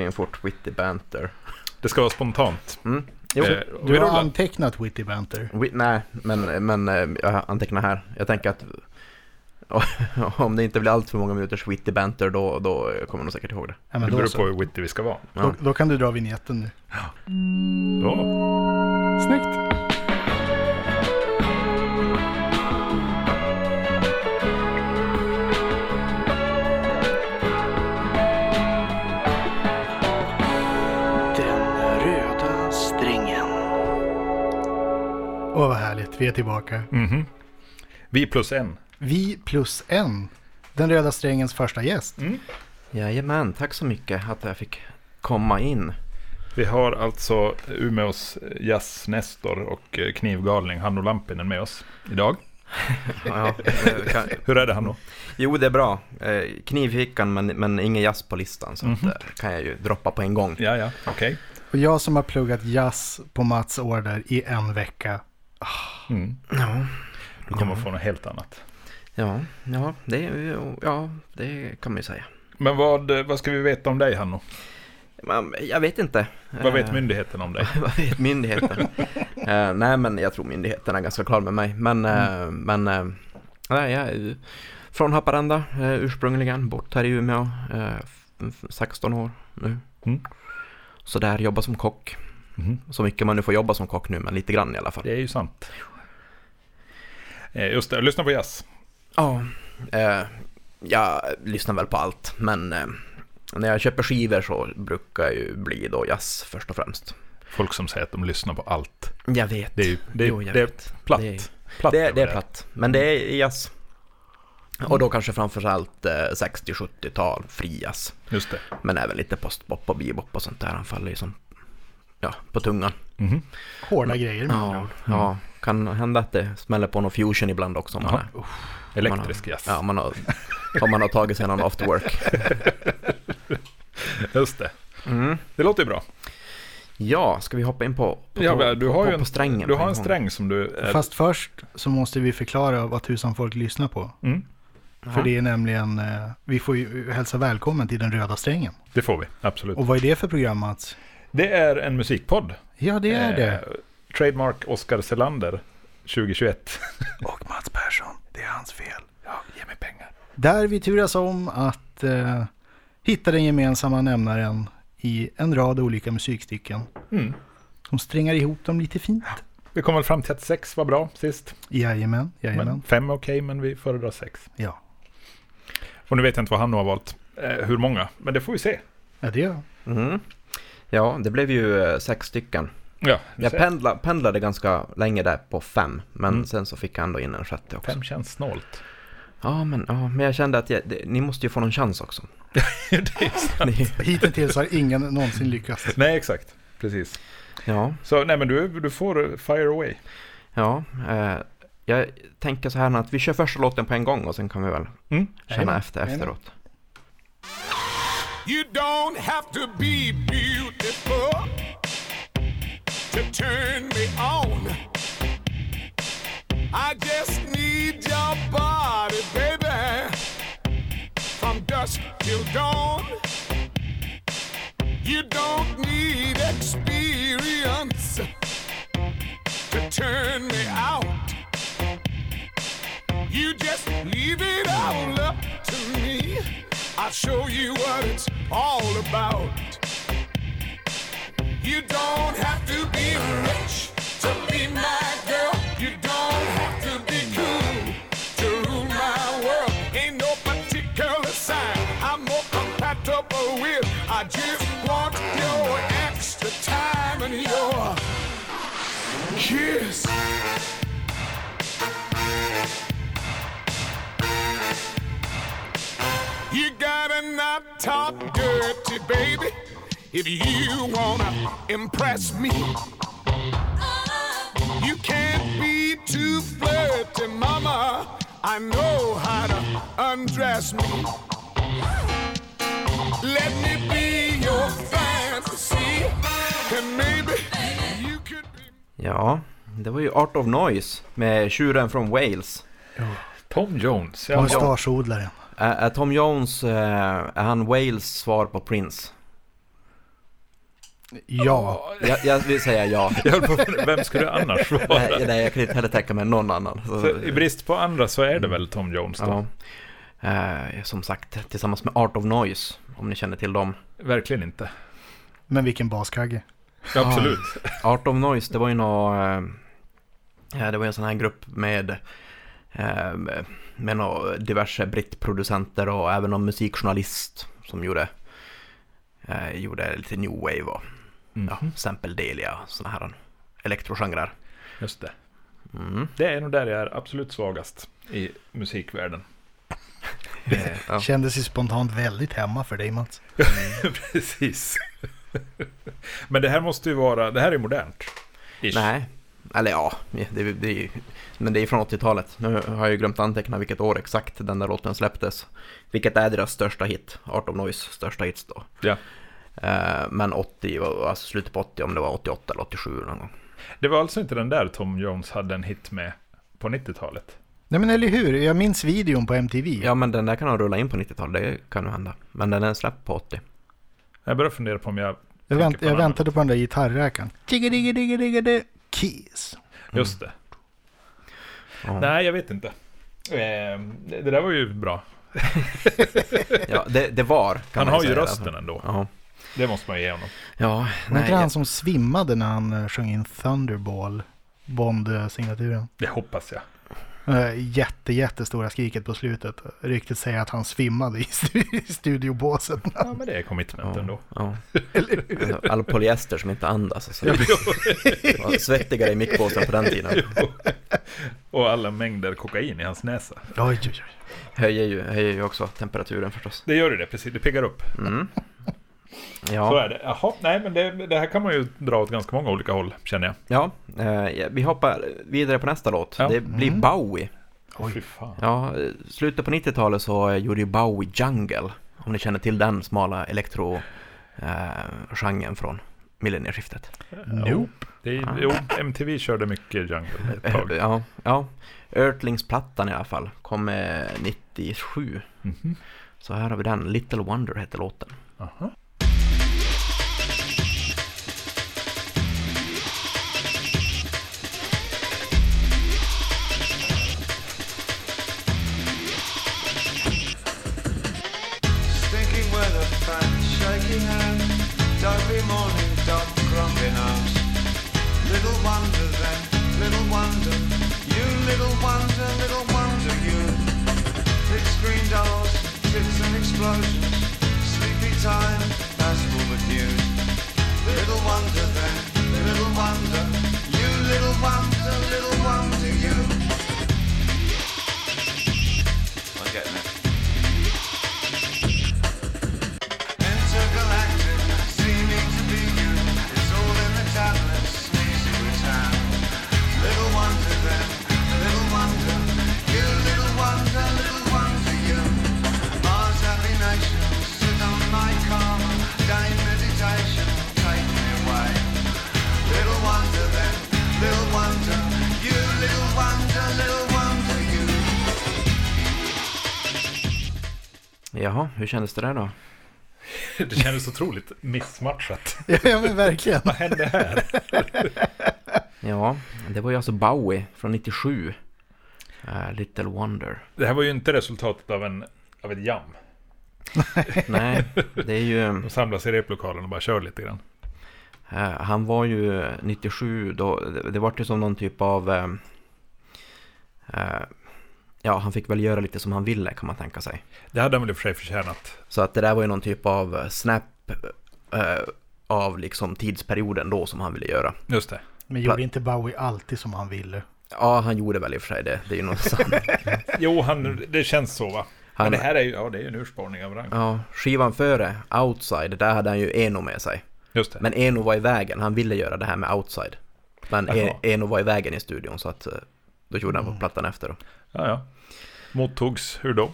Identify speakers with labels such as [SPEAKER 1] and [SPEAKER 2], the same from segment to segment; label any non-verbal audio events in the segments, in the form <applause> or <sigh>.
[SPEAKER 1] in fort witty banter.
[SPEAKER 2] Det ska vara spontant.
[SPEAKER 1] Mm. Jo.
[SPEAKER 2] Eh, och vi
[SPEAKER 3] Du har
[SPEAKER 2] rullar.
[SPEAKER 3] antecknat Witty Banter.
[SPEAKER 1] Wi- nej, men, men eh, jag antecknar här. Jag tänker att <laughs> om det inte blir allt för många minuters witty banter då, då kommer de säkert ihåg det.
[SPEAKER 2] Det
[SPEAKER 3] Ja, men då,
[SPEAKER 2] beror på
[SPEAKER 3] så.
[SPEAKER 2] hur witty vi ska vara.
[SPEAKER 3] då, då kan du dra vignetten nu.
[SPEAKER 2] Så.
[SPEAKER 3] Snyggt.
[SPEAKER 4] Den röda strängen.
[SPEAKER 3] Åh, vad härligt. Vi är tillbaka.
[SPEAKER 2] Mhm. Vi plus en.
[SPEAKER 3] Vi plus en. Den röda strängens första gäst.
[SPEAKER 1] Jajamän, tack så mycket att jag fick komma in.
[SPEAKER 2] Vi har alltså Umeås jazz-nestor och eh, knivgalning Hanno Lampinen med oss idag.
[SPEAKER 1] Ja, eh, kan,
[SPEAKER 2] Hur är det Hanno?
[SPEAKER 1] jo, det är bra. Eh, Kniv i fickan men, men ingen jazz på listan så att, eh, kan jag ju droppa på en gång.
[SPEAKER 2] Ja, ja, okej.
[SPEAKER 3] Och jag som har pluggat jazz på Mats Order i en vecka.
[SPEAKER 2] Mm. Du kommer
[SPEAKER 1] Mm.
[SPEAKER 2] få något helt annat.
[SPEAKER 1] Ja, ja, det, är ju- ja, det kan man ju säga.
[SPEAKER 2] Men vad, eh, vad ska vi veta om dig Hanno?
[SPEAKER 1] Men jag vet inte.
[SPEAKER 2] Vad vet
[SPEAKER 1] Eh,
[SPEAKER 2] myndigheten om dig?
[SPEAKER 1] Vad vet myndigheten? <laughs> Eh, nej, men jag tror myndigheten är ganska klar med mig. Men, eh, men eh, nej, jag är ju från Haparanda eh, ursprungligen, bort här i Umeå, eh, f- f- 16 år nu.
[SPEAKER 2] Mm.
[SPEAKER 1] Så där, jobbar som kock.
[SPEAKER 2] Mhm.
[SPEAKER 1] Så mycket man nu får jobba som kock nu, men lite grann i alla fall.
[SPEAKER 2] Det är ju sant. Eh, Just det, lyssna på jazz.
[SPEAKER 1] Ja, eh, jag lyssnar väl på allt, men eh, när jag köper skivor så brukar jag ju bli då jazz först och främst.
[SPEAKER 2] Folk som säger att de lyssnar på allt.
[SPEAKER 1] Jag vet.
[SPEAKER 2] Det är ju det, är-
[SPEAKER 1] Jo, jag
[SPEAKER 2] det är
[SPEAKER 1] vet.
[SPEAKER 2] platt.
[SPEAKER 1] Det är ju-
[SPEAKER 2] platt
[SPEAKER 1] det,
[SPEAKER 2] över
[SPEAKER 1] det är platt, Mm. men det är jazz. Och då kanske framförallt eh, 60-70-tal, fri jazz.
[SPEAKER 2] Just det.
[SPEAKER 1] Men även lite postbop och bebop och sånt där. Han faller ju som, ja, på tungan.
[SPEAKER 2] Mhm.
[SPEAKER 3] Hårda grejer med andra
[SPEAKER 1] Ja,
[SPEAKER 3] ord.
[SPEAKER 1] ja, kan hända att det smäller på någon fusion ibland också. Om man
[SPEAKER 2] Ja.
[SPEAKER 1] är,
[SPEAKER 2] Elektrisk jazz.
[SPEAKER 1] ja, om man har, om man har tagit sig någon after work.
[SPEAKER 2] Just det.
[SPEAKER 1] Mm.
[SPEAKER 2] Det låter ju bra.
[SPEAKER 1] Ja, ska vi hoppa in på, på,
[SPEAKER 2] Ja,
[SPEAKER 1] på-
[SPEAKER 2] men du
[SPEAKER 1] på,
[SPEAKER 2] har
[SPEAKER 1] på,
[SPEAKER 2] ju en-
[SPEAKER 1] på strängen? på
[SPEAKER 2] Du har
[SPEAKER 1] gång?
[SPEAKER 2] en sträng som du... eh,
[SPEAKER 3] Fast först så måste vi förklara vad tusan folk lyssnar på.
[SPEAKER 2] Mm,
[SPEAKER 3] För det är nämligen, eh, vi får ju hälsa välkommen till den röda strängen.
[SPEAKER 2] det får vi, absolut.
[SPEAKER 3] Och vad är det för program Mats?
[SPEAKER 2] Det är en musikpodd.
[SPEAKER 3] Ja det är det.
[SPEAKER 2] Eh, Trademark Oscar Selander 2021.
[SPEAKER 3] Eh, Och Mats Persson, det är hans fel.
[SPEAKER 2] Ja, ge mig pengar.
[SPEAKER 3] Där vi turas om att eh, hitta den gemensamma nämnaren i en rad olika musikstycken.
[SPEAKER 2] Mm.
[SPEAKER 3] Som strängar ihop dem lite fint.
[SPEAKER 2] Vi kom väl fram till att sex var bra sist.
[SPEAKER 3] Jajamän,
[SPEAKER 2] Men
[SPEAKER 3] jajamän.
[SPEAKER 2] fem är okej, men vi föredrar sex.
[SPEAKER 3] Ja,
[SPEAKER 2] Och nu vet jag inte vad han har valt. Eh, hur många, men det får vi se.
[SPEAKER 3] ja det gör jag.
[SPEAKER 1] Mm. Ja, det blev ju eh, sex stycken.
[SPEAKER 2] Ja, vi
[SPEAKER 1] Jag
[SPEAKER 2] ser.
[SPEAKER 1] pendla, pendlade ganska länge där på fem, men
[SPEAKER 2] Mm.
[SPEAKER 1] sen så fick han då in en sjätte också.
[SPEAKER 2] Fem känns <laughs> snålt.
[SPEAKER 1] Ja, men, ja, men jag kände att jag, det, ni måste ju få någon chans också.
[SPEAKER 2] Det är sant.
[SPEAKER 1] Ni,
[SPEAKER 3] Hittills har ingen någonsin lyckats.
[SPEAKER 2] nej, exakt. Precis.
[SPEAKER 1] ja,
[SPEAKER 2] Så nej, men du, du får fire away.
[SPEAKER 1] ja. Eh, jag tänker så här nu att vi kör första låten på en gång och sen kan vi väl
[SPEAKER 2] Mm.
[SPEAKER 1] känna
[SPEAKER 3] Jajamän,
[SPEAKER 1] efter
[SPEAKER 3] jajamän.
[SPEAKER 1] efteråt.
[SPEAKER 5] You don't have to be beautiful to turn me on. I just need your body, baby, from dusk till dawn. You don't need experience to turn me out. You just leave it all up to me. I'll show you what it's all about. You don't have to be rich to be my girl. You don't have to be cool to rule my world. Ain't no particular sign I'm more compatible with. I just want your extra time and your kiss. You gotta not talk dirty, baby, if you wanna impress me. You can't be too flirty, mama. I know how to undress me. Let me be your fantasy, and maybe you could be.
[SPEAKER 1] Ja, det var ju Art of Noise med tjuren från Wales.
[SPEAKER 2] Tom Jones. Ja,
[SPEAKER 3] Mustaschodlaren.
[SPEAKER 1] Är är Tom Jones, eh, är han Wales svar på Prince?
[SPEAKER 3] Ja.
[SPEAKER 1] Jag, jag vill säga
[SPEAKER 2] <laughs>
[SPEAKER 1] ja.
[SPEAKER 2] <laughs> Jag höll på, vem skulle det annars vara?
[SPEAKER 1] Nej, nej, jag kan inte heller tänka mig någon annan. Så-
[SPEAKER 2] Så I brist på andra så är det väl Tom Jones då?
[SPEAKER 1] ja. Eh, Som sagt, tillsammans med Art of Noise, om ni känner till dem.
[SPEAKER 2] Verkligen inte.
[SPEAKER 3] Men vilken baskagge.
[SPEAKER 2] Ja, absolut.
[SPEAKER 1] Art of Noise, det var ju nå, eh, eh, Det var ju en sån här grupp med eh, med nå diverse brittproducenter och även någon musikjournalist som gjorde, eh, gjorde lite new wave och
[SPEAKER 2] Mm.
[SPEAKER 1] ja, sampledelia och såna här elektrogenrer.
[SPEAKER 2] Just det.
[SPEAKER 1] Mm.
[SPEAKER 2] Det är nog där jag är absolut svagast i musikvärlden. Eh,
[SPEAKER 1] Ja.
[SPEAKER 3] Kändes ju spontant väldigt hemma för dig Mats.
[SPEAKER 2] Precis. <laughs> Men det här måste ju vara, det här är modernt. Ish.
[SPEAKER 1] Nej, eller ja, det, det, är ju- men det är från 80-talet. Nu har jag ju glömt anteckna vilket år exakt den där låten släpptes. Vilket är deras största hit, Art of Noise största hits då.
[SPEAKER 2] Ja.
[SPEAKER 1] Eh, Men 80, var- alltså slutet på 80, om det var 88 eller 87 någon gång.
[SPEAKER 2] Det var alltså inte den där Tom Jones hade en hit med på 90-talet.
[SPEAKER 3] Nej men eller hur, jag minns videon på MTV.
[SPEAKER 1] Ja, men den där kan ha rullat in på 90-talet, det kan ju hända. Men den är släppt på 80.
[SPEAKER 2] Jag börjar fundera på om jag...
[SPEAKER 3] jag vänt,
[SPEAKER 2] tänker på
[SPEAKER 3] jag
[SPEAKER 2] någon annan.
[SPEAKER 3] väntade på den där gitarrräkan. Tigga-digga-digga-digga-digga. Kiss.
[SPEAKER 2] Just det.
[SPEAKER 1] Mm. Ja.
[SPEAKER 2] Nej, jag vet inte. Eh, det det där var ju bra.
[SPEAKER 1] Ja, det, det var, kan
[SPEAKER 2] Han
[SPEAKER 1] man
[SPEAKER 2] har ju
[SPEAKER 1] säga.
[SPEAKER 2] rösten ändå.
[SPEAKER 1] Ja,
[SPEAKER 2] Det måste man ju ge honom.
[SPEAKER 1] ja
[SPEAKER 3] Var
[SPEAKER 1] nej.
[SPEAKER 3] inte det han som svimmade när han eh, sjöng in Thunderball? Bond-signaturen.
[SPEAKER 2] Det hoppas jag.
[SPEAKER 3] Eh, Jätte, jättestora skriket på slutet. Ryktet säger att han svimmade i stu- i studiobåsen.
[SPEAKER 2] Ja, men det är commitment
[SPEAKER 1] Ja,
[SPEAKER 2] ändå.
[SPEAKER 1] ja. Alltså, All polyester som inte andas. Alltså. Det var svettigare i mickbåsen på den tiden.
[SPEAKER 2] Och alla mängder kokain i hans näsa.
[SPEAKER 3] Oj, oj, oj.
[SPEAKER 1] Höjer ju, höjer ju också temperaturen förstås.
[SPEAKER 2] Det gör ju det, precis. Det piggar upp. <laughs>
[SPEAKER 1] Mm.
[SPEAKER 2] Så
[SPEAKER 1] Ja,
[SPEAKER 2] är det. Jaha, nej men det, det här kan man ju dra åt ganska många olika håll, känner jag.
[SPEAKER 1] ja eh, vi hoppar vidare på nästa låt.
[SPEAKER 2] Ja.
[SPEAKER 1] Det blir
[SPEAKER 3] Mm.
[SPEAKER 1] Bowie.
[SPEAKER 3] Oj.
[SPEAKER 2] Fy fan.
[SPEAKER 1] Ja, eh, slutet på 90-talet så eh, gjorde ju Bowie Jungle, om ni känner till den smala elektro-genren från millennieskiftet.
[SPEAKER 3] Nope.
[SPEAKER 2] Det är, jo, MTV körde mycket Jungle ett tag.
[SPEAKER 1] Eh, <laughs> Ja, ja. Earthlings-plattan i alla fall, kom eh, 97.
[SPEAKER 2] Mhm.
[SPEAKER 1] Så här har vi den, Little Wonder heter låten.
[SPEAKER 2] Aha.
[SPEAKER 6] Stinking weather, fan, shaking hand, Dudley morning, dog grumpy nose. Little wonder then, little wonder, you little wonder, little wonder you. Big screen dolls, tits and explosions, sleepy time, bashful with news. Little wonder then, little wonder, you little wonder, little wonder you. I'm getting it. Intergalactic, seeming to be you. It's all in the tablets, sneezy return. Little wonder then, little wonder, you little wonder, little wonder you. Mars happy nation, sit on my karma, day meditation, take me away. Little wonder then, little wonder, you little wonder, little wonder you.
[SPEAKER 1] Jaha, hur kändes det där då?
[SPEAKER 2] Det kändes otroligt missmatchat.
[SPEAKER 3] Ja, men verkligen.
[SPEAKER 2] Vad hände här?
[SPEAKER 1] Ja, det var ju alltså Bowie från 97. Eh, Little Wonder.
[SPEAKER 2] Det här var ju inte resultatet av, en, av ett jam.
[SPEAKER 1] Nej, det är ju...
[SPEAKER 2] De samlas i replokalen och bara kör lite grann.
[SPEAKER 1] Eh, Han var ju 97 då, det, det var ju som någon typ av... eh, eh, ja, han fick väl göra lite som han ville kan man tänka sig.
[SPEAKER 2] Det hade han väl i och för sig förtjänat.
[SPEAKER 1] Så att det där var ju någon typ av eh, snap eh, av liksom tidsperioden då som han ville göra.
[SPEAKER 2] Just det.
[SPEAKER 3] Men gjorde inte Bowie alltid som han ville?
[SPEAKER 1] Ja, han gjorde väl i och för sig det, det är ju något sant.
[SPEAKER 2] Jo, han, det känns så va?
[SPEAKER 1] Han-
[SPEAKER 2] Men det här är ju, ja, det är ju en urspårning av rang.
[SPEAKER 1] Ja, skivan före, Outside, där hade han ju Eno med sig.
[SPEAKER 2] Just det.
[SPEAKER 1] Typ. Men Eno var i vägen, han ville göra det här med Outside. Men E-
[SPEAKER 2] Jaha.
[SPEAKER 1] Eno var i vägen i studion så att eh, då gjorde han på plattan efter. Då.
[SPEAKER 2] Ja, ja. Mottogs hur då?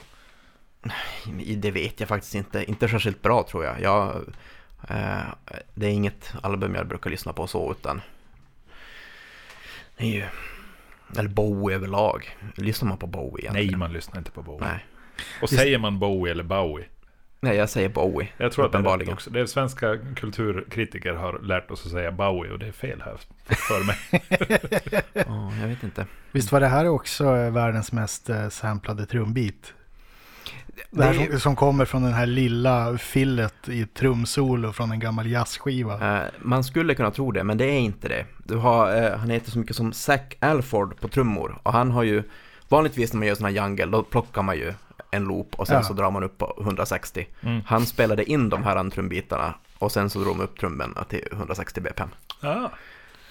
[SPEAKER 1] I- Det vet jag faktiskt inte. Inte särskilt bra tror jag. jag eh, det är inget album jag brukar lyssna på så utan... Det är ju... Eller Bowie överlag. Lyssnar man på Bowie egentligen?
[SPEAKER 2] Nej, man lyssnar inte på Bowie.
[SPEAKER 1] Nej.
[SPEAKER 2] Och säger man Bowie eller Bowie
[SPEAKER 1] Nej, jag säger Bowie.
[SPEAKER 2] Jag tror att det är rätt
[SPEAKER 1] Uppenbarligen.
[SPEAKER 2] också. Det är svenska kulturkritiker har lärt oss att säga Bowie och det är fel här för
[SPEAKER 1] <laughs>
[SPEAKER 2] mig.
[SPEAKER 1] Ja, jag vet inte.
[SPEAKER 3] Visst var det här också eh, världens mest eh, samplade trumbeat? Det här
[SPEAKER 1] Det är-
[SPEAKER 3] som, som kommer från den här lilla fillet i ett trumsolo från en gammal jazzskiva.
[SPEAKER 1] Eh, man skulle kunna tro det, men det är inte det. Du har, eh, han heter så mycket som Zac Alford på trummor och han har ju, vanligtvis när man gör sådana här jungle, då plockar man ju en loop och sen
[SPEAKER 3] Ja.
[SPEAKER 1] så drar man upp på 160.
[SPEAKER 2] Mm.
[SPEAKER 1] Han spelade in de här trumbitarna och sen så drog man upp trummorna till 160 bpm.
[SPEAKER 2] ah,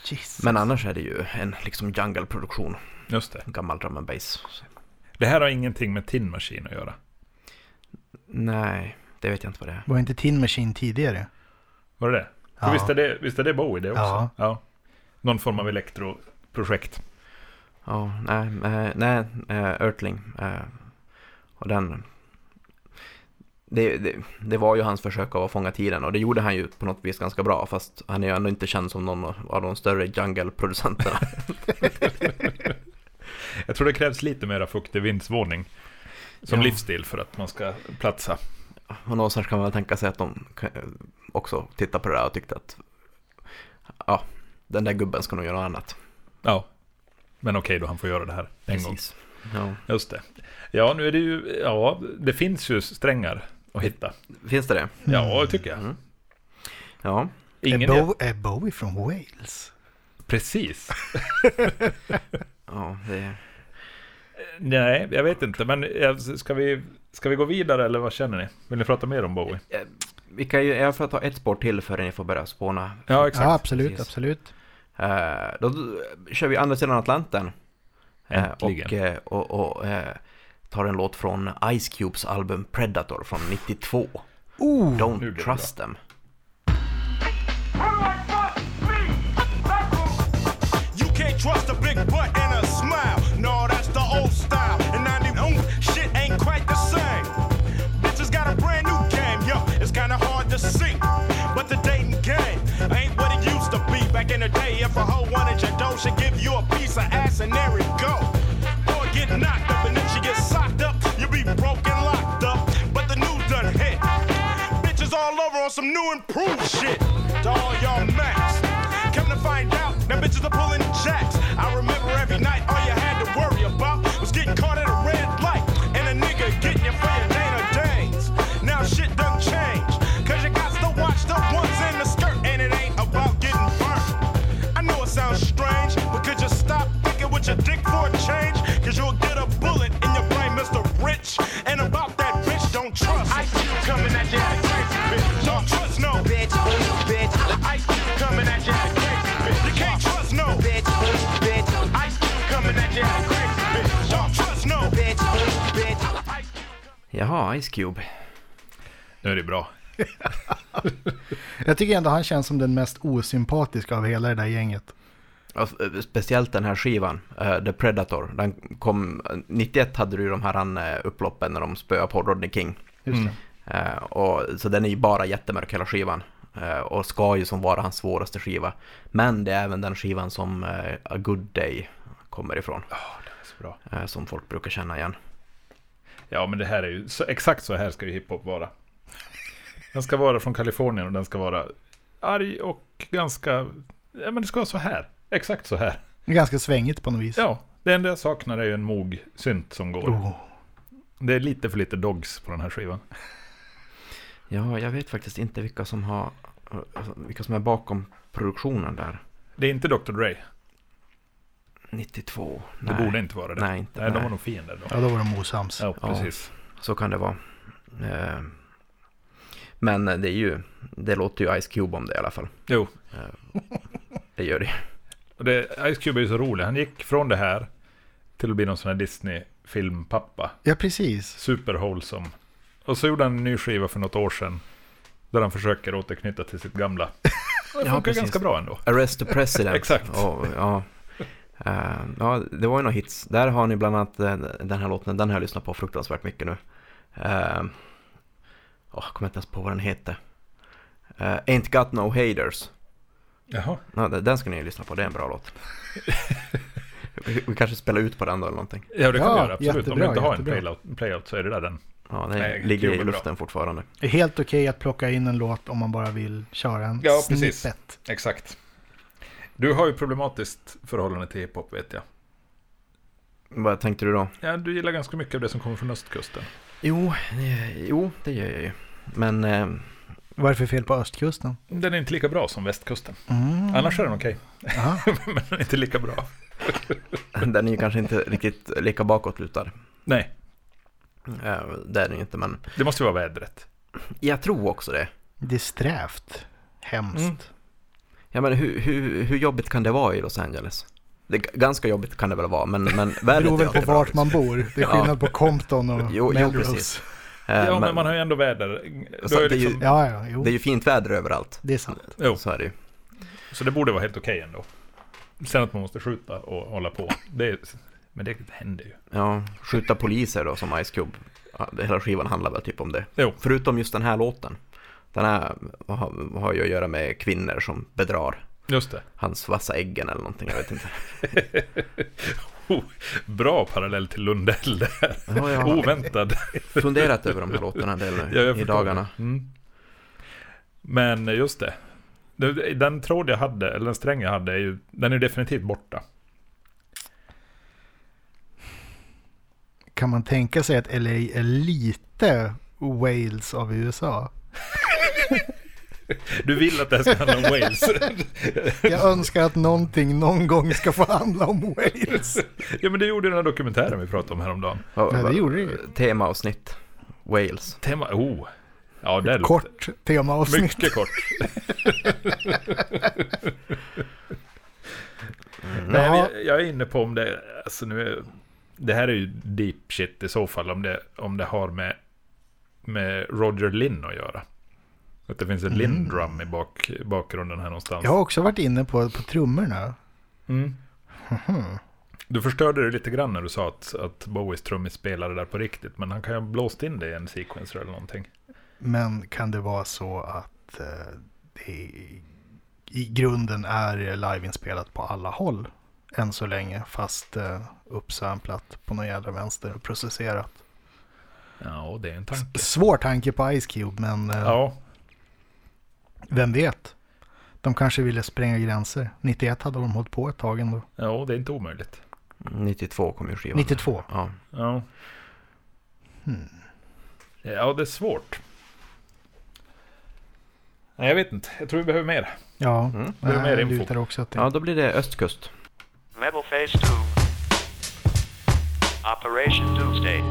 [SPEAKER 3] Jesus.
[SPEAKER 1] Men annars är det ju en liksom jungle-produktion,
[SPEAKER 2] just det.
[SPEAKER 1] en gammal drum and bass.
[SPEAKER 2] Det här har ingenting med Tin Machine att göra.
[SPEAKER 1] Nej, det vet jag inte vad det är.
[SPEAKER 3] Var inte Tin Machine tidigare?
[SPEAKER 2] Var det det?
[SPEAKER 3] Ja.
[SPEAKER 2] För Visst, är det visst är det Bowie det också?
[SPEAKER 3] Ja.
[SPEAKER 2] Någon form av elektroprojekt.
[SPEAKER 1] Ja, nej, eh, nej, eh, Örtling. eh, Och den... Det, det, det var ju hans försök att fånga tiden och det gjorde han ju på något vis ganska bra fast han är ju ändå inte känd som någon av de större jungle-producenterna.
[SPEAKER 2] Jag tror det krävs lite mera fuktig vindsvåning som
[SPEAKER 1] Ja.
[SPEAKER 2] livsstil för att man ska platsa.
[SPEAKER 1] och någonstans kan man väl tänka sig att de kan- eh, också tittar på det där och tyckte att ja, den där gubben ska nog göra något annat.
[SPEAKER 2] Ja, men okej då, han får göra det här en gång.
[SPEAKER 1] Precis. Ja.
[SPEAKER 2] Just det. Ja, nu är det ju, ja, det finns ju strängar att hitta.
[SPEAKER 3] Mm.
[SPEAKER 1] Finns det det?
[SPEAKER 2] Ja, det tycker jag.
[SPEAKER 1] Mm. Ja.
[SPEAKER 3] Är,
[SPEAKER 2] Ingen
[SPEAKER 3] Bo- är Bowie från Wales?
[SPEAKER 2] Precis.
[SPEAKER 1] ja det,
[SPEAKER 2] Nej, jag vet inte, men eh, ska vi, ska vi gå vidare eller vad känner ni? Vill ni prata mer om Bowie?
[SPEAKER 1] eh, vi kan ju, jag får ta ett spår till förrän ni får börja spåna
[SPEAKER 2] Ja,
[SPEAKER 3] Ja, absolut,
[SPEAKER 1] Precis.
[SPEAKER 3] absolut.
[SPEAKER 1] Eh, då eh, kör vi andra sidan Atlanten. Eh,
[SPEAKER 2] Äntligen.
[SPEAKER 1] och eh, och, och eh, tar en låt från Ice Cubes album Predator från 92.
[SPEAKER 3] Oh,
[SPEAKER 2] nu blir
[SPEAKER 1] Don't
[SPEAKER 2] det
[SPEAKER 1] trust them.
[SPEAKER 7] You can't trust a big butt and a smile. No, that's the old style. And now the mm, shit ain't quite the same. Bitches got a brand new game, yo. It's kinda hard to see. But the dating game ain't what it used to be. Back in the day, if a hoe wanted your dough, she'd give you a piece of ass and there it go. Or get knocked up, and if she gets socked up, you'll be broken locked up. But the news done hit. Bitches all over on some new improved shit. To all y'all max. Come to find out, them bitches are pulling jacks. I remember every night all you had to worry about was getting caught at a red light and a nigga getting you for your Dana Danes. Now shit done change, cause you got to watch the ones in the skirt and it ain't about getting burnt. I know it sounds strange, but could you stop thinking with your dick for a change? Cause you'll get a bullet in your brain, Mr. Rich. And about that bitch, don't trust. I keep coming at you like crazy bitch. Don't trust no bitch, bitch. I keep coming at you like crazy bitch. You can't trust no bitch, bitch. I keep coming at you like crazy bitch. Don't trust no bitch, bitch. I keep
[SPEAKER 1] Jaha, Ice Cube.
[SPEAKER 2] Nu är det bra.
[SPEAKER 3] jag tycker ändå han känns som den mest osympatiska av hela det där gänget.
[SPEAKER 1] Ja, eh, Speciellt den här skivan, eh, The Predator. Den kom, 91 hade du ju de här eh, upploppen när de spöade på Rodney King.
[SPEAKER 3] Just det.
[SPEAKER 1] Eh, och, så den är ju bara jättemörk hela skivan. Eh, och ska ju som vara hans svåraste skiva. Men det är även den skivan som eh, A Good Day kommer ifrån.
[SPEAKER 2] Så bra.
[SPEAKER 1] Eh, som folk brukar känna igen.
[SPEAKER 2] Ja, men det här är ju, så, exakt så här ska ju hiphop vara. Den ska vara från Kalifornien och den ska vara arg och ganska, ja men det ska vara så här. Exakt så här.
[SPEAKER 3] Ganska svängigt på något vis.
[SPEAKER 2] Ja, det enda jag saknar är ju en mog synt som går.
[SPEAKER 3] Oh.
[SPEAKER 2] Det är lite för lite dogs på den här skivan.
[SPEAKER 1] Ja, jag vet faktiskt inte vilka som har alltså, vilka som är bakom produktionen där.
[SPEAKER 2] Det är inte Dr. Dre.
[SPEAKER 1] 92.
[SPEAKER 2] Det borde inte vara det.
[SPEAKER 1] Nej, inte.
[SPEAKER 2] Nej, de
[SPEAKER 1] nej.
[SPEAKER 2] var nog fiender då.
[SPEAKER 3] Ja, då var de osams.
[SPEAKER 2] Ja,
[SPEAKER 1] Ja.
[SPEAKER 2] precis.
[SPEAKER 1] Så kan det vara. Eh, men det är ju, det låter ju Ice Cube om det i alla fall.
[SPEAKER 2] Jo,
[SPEAKER 1] Det gör det ju.
[SPEAKER 2] och det, Ice Cube är ju så rolig. Han gick från det här till att bli någon sån här Disney-filmpappa.
[SPEAKER 3] Ja, precis.
[SPEAKER 2] Superwholesome. Och så gjorde han en ny skiva för något år sedan. Där han försöker återknyta till sitt gamla. Och Det
[SPEAKER 1] Ja,
[SPEAKER 2] funkar
[SPEAKER 1] precis.
[SPEAKER 2] ganska bra ändå.
[SPEAKER 1] Arrest the President.
[SPEAKER 2] <laughs> Exakt.
[SPEAKER 1] Och, ja. Eh, ja, det var ju några hits. Där har ni bland annat eh, den här låten, den har jag lyssnat på fruktansvärt mycket nu. Uh, jag kommer inte ens på vad den heter. Eh, Ain't got no haters.
[SPEAKER 2] Jaha.
[SPEAKER 1] Ja, den den ska ni ju lyssna på, det är en bra <laughs> låt. vi, vi kanske spelar ut på den då eller någonting.
[SPEAKER 2] Ja, det kan
[SPEAKER 3] Ja,
[SPEAKER 2] vi göra. Absolut. Om
[SPEAKER 3] jättebra,
[SPEAKER 2] du inte har
[SPEAKER 3] jättebra.
[SPEAKER 2] en playout, playout så är det där den
[SPEAKER 1] Ja, den
[SPEAKER 2] Nej,
[SPEAKER 1] ligger
[SPEAKER 2] kul
[SPEAKER 1] i
[SPEAKER 2] och
[SPEAKER 1] luften fortfarande.
[SPEAKER 3] Det är helt okej att plocka in en låt om man bara vill köra en
[SPEAKER 2] Ja, precis.
[SPEAKER 3] snippet.
[SPEAKER 2] Exakt. Du har ju problematiskt förhållande till hiphop vet jag.
[SPEAKER 1] Vad tänkte du då?
[SPEAKER 2] Ja, du gillar ganska mycket av det som kommer från östkusten.
[SPEAKER 1] Jo, eh, jo det gör jag ju. Men eh, <laughs>
[SPEAKER 3] Varför fel på östkusten?
[SPEAKER 2] Den är inte lika bra som västkusten.
[SPEAKER 3] Mm.
[SPEAKER 2] Annars är den okej,
[SPEAKER 3] Aha.
[SPEAKER 2] <laughs> men den är inte lika bra.
[SPEAKER 1] den är ju kanske inte riktigt lika bakåtlutad.
[SPEAKER 2] Nej,
[SPEAKER 1] Eh, Det är den ju inte, men
[SPEAKER 2] det måste ju vara vädret.
[SPEAKER 1] jag tror också det.
[SPEAKER 3] Det är strävt. Hemskt.
[SPEAKER 2] Mm.
[SPEAKER 1] Ja, men hur, hur, hur jobbigt kan det vara i Los Angeles? Det, är g- ganska jobbigt kan det väl vara, men, men
[SPEAKER 3] <laughs> Det
[SPEAKER 1] vädret
[SPEAKER 3] beror
[SPEAKER 1] är
[SPEAKER 3] väl på
[SPEAKER 1] alltid bra,
[SPEAKER 3] vart
[SPEAKER 1] liksom.
[SPEAKER 3] man bor. Det är
[SPEAKER 1] Ja.
[SPEAKER 3] skillnad på Compton
[SPEAKER 1] <laughs>
[SPEAKER 3] och
[SPEAKER 1] Jo, jo,
[SPEAKER 3] Melrose.
[SPEAKER 1] precis. Eh,
[SPEAKER 2] Ja, men
[SPEAKER 1] men
[SPEAKER 2] man har ju ändå väder. Du
[SPEAKER 1] Så
[SPEAKER 2] har ju
[SPEAKER 1] det är ju-
[SPEAKER 2] liksom...
[SPEAKER 3] Ja, ja, jo.
[SPEAKER 1] Det är ju fint väder överallt.
[SPEAKER 3] Det är sant.
[SPEAKER 2] Jo,
[SPEAKER 1] Så är det ju.
[SPEAKER 2] så det borde vara helt okej ändå. Sen att man måste skjuta och hålla på. Det är... Men det händer ju.
[SPEAKER 1] Ja, skjuta poliser då som Ice Cube. Ja, det- Hela skivan handlar väl typ om det.
[SPEAKER 2] Jo.
[SPEAKER 1] Förutom just den här låten. Den här har, har ju att göra med kvinnor som bedrar
[SPEAKER 2] Just det.
[SPEAKER 1] hans vassa äggen eller någonting, jag vet inte.
[SPEAKER 2] Oh, bra parallell till Lundell där.
[SPEAKER 1] Ja, jag har
[SPEAKER 2] Oväntad.
[SPEAKER 1] funderat över de här låtarna en del nu
[SPEAKER 2] Oh, <laughs> Ja, jag
[SPEAKER 1] i
[SPEAKER 2] förstår
[SPEAKER 1] dagarna.
[SPEAKER 2] det. Mm. Men just det. Det- Den tråd jag hade, eller den sträng jag hade, är ju, den är definitivt borta.
[SPEAKER 3] Kan man tänka sig att LA är lite Wales av USA?
[SPEAKER 2] Du vill att det här ska handla om Wales.
[SPEAKER 3] Jag önskar att någonting någon gång ska få handla om
[SPEAKER 1] <laughs>
[SPEAKER 3] Wales.
[SPEAKER 2] ja, men det gjorde den här dokumentären vi pratade om häromdagen.
[SPEAKER 3] Ja, det gjorde det ju.
[SPEAKER 1] Temaavsnitt. Wales.
[SPEAKER 2] Tema... Oh. Ja, det låter...
[SPEAKER 3] Kort temaavsnitt.
[SPEAKER 2] Mycket kort. Nej, men
[SPEAKER 3] Ja.
[SPEAKER 2] jag, jag är inne på om det... Alltså nu är, det här är ju deep shit i så fall, om det, om det har med, med Roger Lynn att göra. Att det finns en Lindrum i bak, bakgrunden här någonstans.
[SPEAKER 3] Jag har också varit inne på, på trummorna.
[SPEAKER 2] Mm. Du förstörde det lite grann när du sa att, att Bowies trummis spelade där på riktigt, men han kan ju ha blåst in det i en sequencer eller någonting.
[SPEAKER 3] Men kan det vara så att eh, det i- i grunden är liveinspelat på alla håll än så länge, fast eh, uppsamplat på någon jävla vänster och processerat?
[SPEAKER 2] Ja, det är en tanke.
[SPEAKER 3] Svår tanke på Ice Cube, men eh,
[SPEAKER 2] Ja,
[SPEAKER 3] vem vet? De kanske ville spränga gränser. 91 hade de hållit på ett tag ändå.
[SPEAKER 2] ja det är inte omöjligt.
[SPEAKER 1] 92 kom ju skivan.
[SPEAKER 3] 92.
[SPEAKER 1] Ja.
[SPEAKER 2] Ja. Hmm. ja, det är svårt. Nej, jag vet inte. Jag tror vi behöver mer.
[SPEAKER 3] Ja,
[SPEAKER 2] Mm. det är
[SPEAKER 3] nej,
[SPEAKER 2] mer
[SPEAKER 3] jag
[SPEAKER 2] info.
[SPEAKER 3] Eh, lutar också att det.
[SPEAKER 1] ja, då blir det östkust.
[SPEAKER 8] Metal Phase 2. Operation Doomsday.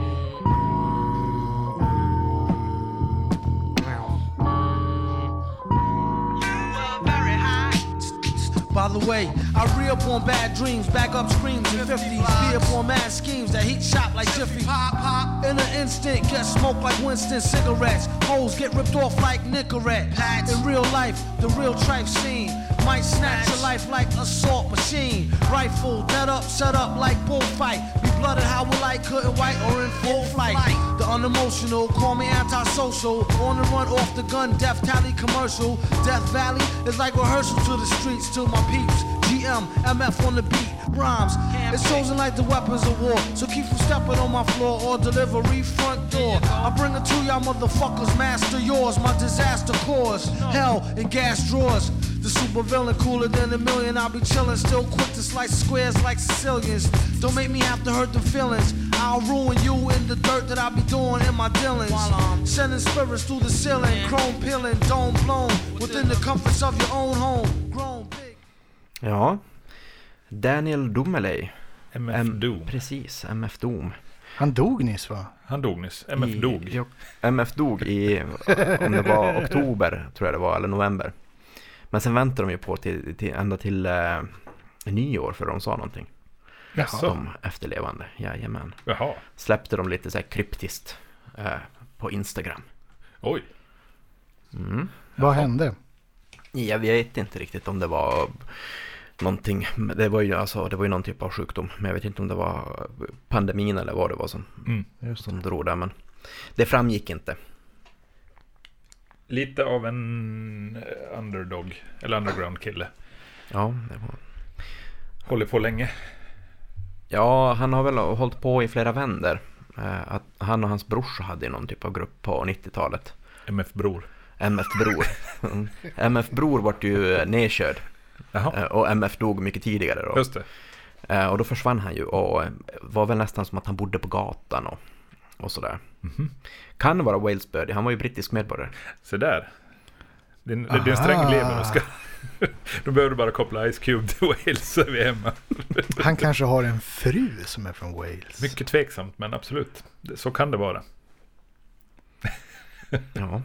[SPEAKER 9] By the way, I reupon bad dreams, back up screams in 50s, be upon mad schemes that heat shop like Jiffy. Pop, pop. In an instant, get smoked like Winston cigarettes. Holes get ripped off like Nicorette. In real life, the real trife scene might snatch your life like assault machine. Rifle, dead up, set up like bullfight. Be blooded how we like, couldn't white or in full flight. The unemotional, call me antisocial. On the run, off the gun, death tally commercial. Death Valley is like rehearsal to the streets, to my peeps. GM, MF on the beat, rhymes. It's chosen like the weapons of war. So keep from stepping on my floor or delivery front door. I bring it to y'all motherfuckers, master yours. My disaster cause, hell and gas drawers. The supervillain cooler than a million. I'll be chillin', still quick to slice squares like Sicilians. Don't make me have to hurt the feelings. I'll ruin you in the dirt that I be doing in my dealings. Sending spirits through the ceiling, chrome peeling, dome blown. Within the comforts of your own home, grown big.
[SPEAKER 1] Ja. Daniel Dumelay.
[SPEAKER 2] MF
[SPEAKER 1] M-
[SPEAKER 2] Doom.
[SPEAKER 1] Precis, MF Doom.
[SPEAKER 3] Han dog nyss va?
[SPEAKER 2] Han dog nyss. MF
[SPEAKER 1] I-
[SPEAKER 2] dog.
[SPEAKER 1] jo, MF dog i, om det var oktober, tror jag det var, eller november. Men sen väntade de ju på till, till, ända till eh, nyår för de sa någonting.
[SPEAKER 2] Jaså?
[SPEAKER 1] De efterlevande, jajamän.
[SPEAKER 2] Jaha.
[SPEAKER 1] Släppte de lite så här kryptiskt eh, på Instagram.
[SPEAKER 2] Oj.
[SPEAKER 3] Vad hände?
[SPEAKER 1] Jag vet inte riktigt om det var någonting. Men Det var ju alltså, det var ju någon typ av sjukdom. Men jag vet inte om det var pandemin eller vad det var som,
[SPEAKER 2] Mm.
[SPEAKER 1] som drog där. Men det framgick inte.
[SPEAKER 2] Lite av en eh, underdog, eller underground-kille.
[SPEAKER 1] Ja, det var...
[SPEAKER 2] Håller på länge.
[SPEAKER 1] ja, han har väl hållit på i flera vänder. Eh, Att han och hans brorsa hade ju någon typ av grupp på 90-talet.
[SPEAKER 2] MF Bror.
[SPEAKER 1] MF
[SPEAKER 2] <laughs>
[SPEAKER 1] Bror. Mm. MF Bror vart ju eh, nedkörd
[SPEAKER 2] Jaha,
[SPEAKER 1] eh, och MF dog mycket tidigare då.
[SPEAKER 2] just det.
[SPEAKER 1] Eh, Och då försvann han ju och eh, var väl nästan som att han bodde på gatan och, och sådär.
[SPEAKER 2] Mhm.
[SPEAKER 1] Kan vara Walesbördig, han var ju brittisk medborgare.
[SPEAKER 2] Se där. Din, din sträng
[SPEAKER 3] Aha.
[SPEAKER 2] lever, Oskar. <laughs> Då behöver du bara koppla Ice Cube till Wales så är vi hemma.
[SPEAKER 3] Han kanske har en fru som är från Wales.
[SPEAKER 2] Mycket tveksamt, men absolut. Det- Så kan det vara.
[SPEAKER 1] Ja.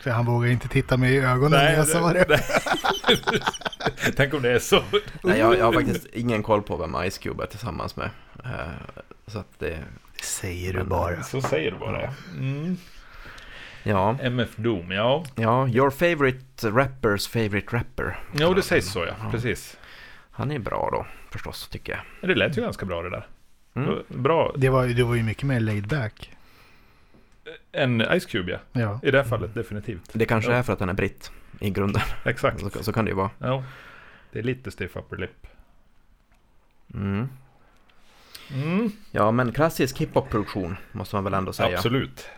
[SPEAKER 3] För han vågar inte titta mig i ögonen när jag sa
[SPEAKER 2] det-
[SPEAKER 3] det.
[SPEAKER 2] <laughs> nej. Tänk om det är så.
[SPEAKER 1] Nej, jag, jag har faktiskt ingen koll på vem Ice Cube är tillsammans med. Eh, Så att det,
[SPEAKER 3] Säger du bara.
[SPEAKER 2] Så säger du bara. Mm.
[SPEAKER 1] ja.
[SPEAKER 2] MF Doom, ja.
[SPEAKER 1] Ja, your favorite rappers favorite rapper.
[SPEAKER 2] Jo, det sägs så ja. Precis.
[SPEAKER 1] Han är bra då, förstås, tycker jag.
[SPEAKER 2] Men Det lät ju ganska bra det där. Mm. Bra.
[SPEAKER 3] Det var, ju- det var ju mycket mer laid back.
[SPEAKER 2] En Ice Cube ja.
[SPEAKER 3] Ja.
[SPEAKER 2] I det här fallet definitivt.
[SPEAKER 1] Det kanske
[SPEAKER 2] Ja.
[SPEAKER 1] är för att han är britt i grunden.
[SPEAKER 2] Exakt.
[SPEAKER 1] Så, så kan det ju vara.
[SPEAKER 2] Ja. Det är lite stiff upper lip.
[SPEAKER 1] Mm.
[SPEAKER 2] Mm.
[SPEAKER 1] Ja, men klassisk hiphop-produktion måste man väl ändå säga.
[SPEAKER 2] Absolut.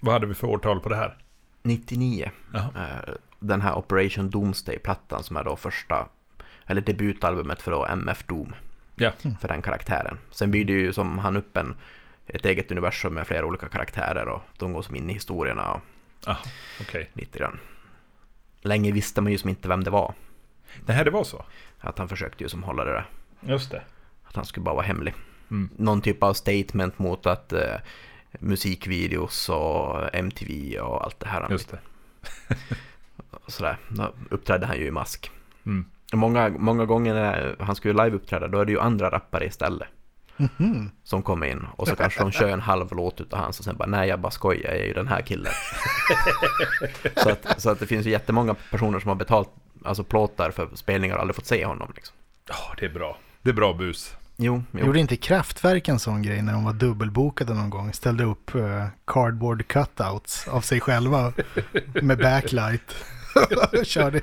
[SPEAKER 2] Vad hade vi för årtal på det här?
[SPEAKER 1] 99.
[SPEAKER 2] Jaha.
[SPEAKER 1] eh, Den här Operation Doomsday-plattan som är då första, eller debutalbumet för då MF Doom,
[SPEAKER 2] Ja.
[SPEAKER 1] för den karaktären. Sen blir det ju som han upp en, ett eget universum med flera olika karaktärer och de går som in i historierna och
[SPEAKER 2] Ah, Okej.
[SPEAKER 1] lite grann. Länge visste man ju som inte vem det var.
[SPEAKER 2] Nej, det var så.
[SPEAKER 1] Att han försökte ju som hålla det där.
[SPEAKER 2] Just det.
[SPEAKER 1] Att han skulle bara vara hemlig.
[SPEAKER 2] Mm.
[SPEAKER 1] Någon typ av statement mot att eh, musikvideos och MTV och allt det här.
[SPEAKER 2] Just det.
[SPEAKER 1] Och sådär. Då uppträdde han ju i mask.
[SPEAKER 2] Mm.
[SPEAKER 1] Många, många gånger när han skulle live uppträda då är det ju andra rappare istället. Som kommer in och så kanske de kör en halv låt utav hans och sen bara nej jag bara skojar, jag är ju den här
[SPEAKER 2] <laughs>
[SPEAKER 1] killen. så, att, så att det finns ju jättemånga personer som har betalt alltså plåtar för spelningar och aldrig fått se honom. Liksom.
[SPEAKER 2] Ja, det är bra. Det är bra bus.
[SPEAKER 1] Jo, jo.
[SPEAKER 3] Gjorde inte Kraftwerk en sån grej när de var dubbelbokade någon gång? Ställde upp eh, cardboard cutouts av sig <laughs> själva med backlight. <laughs> Körde.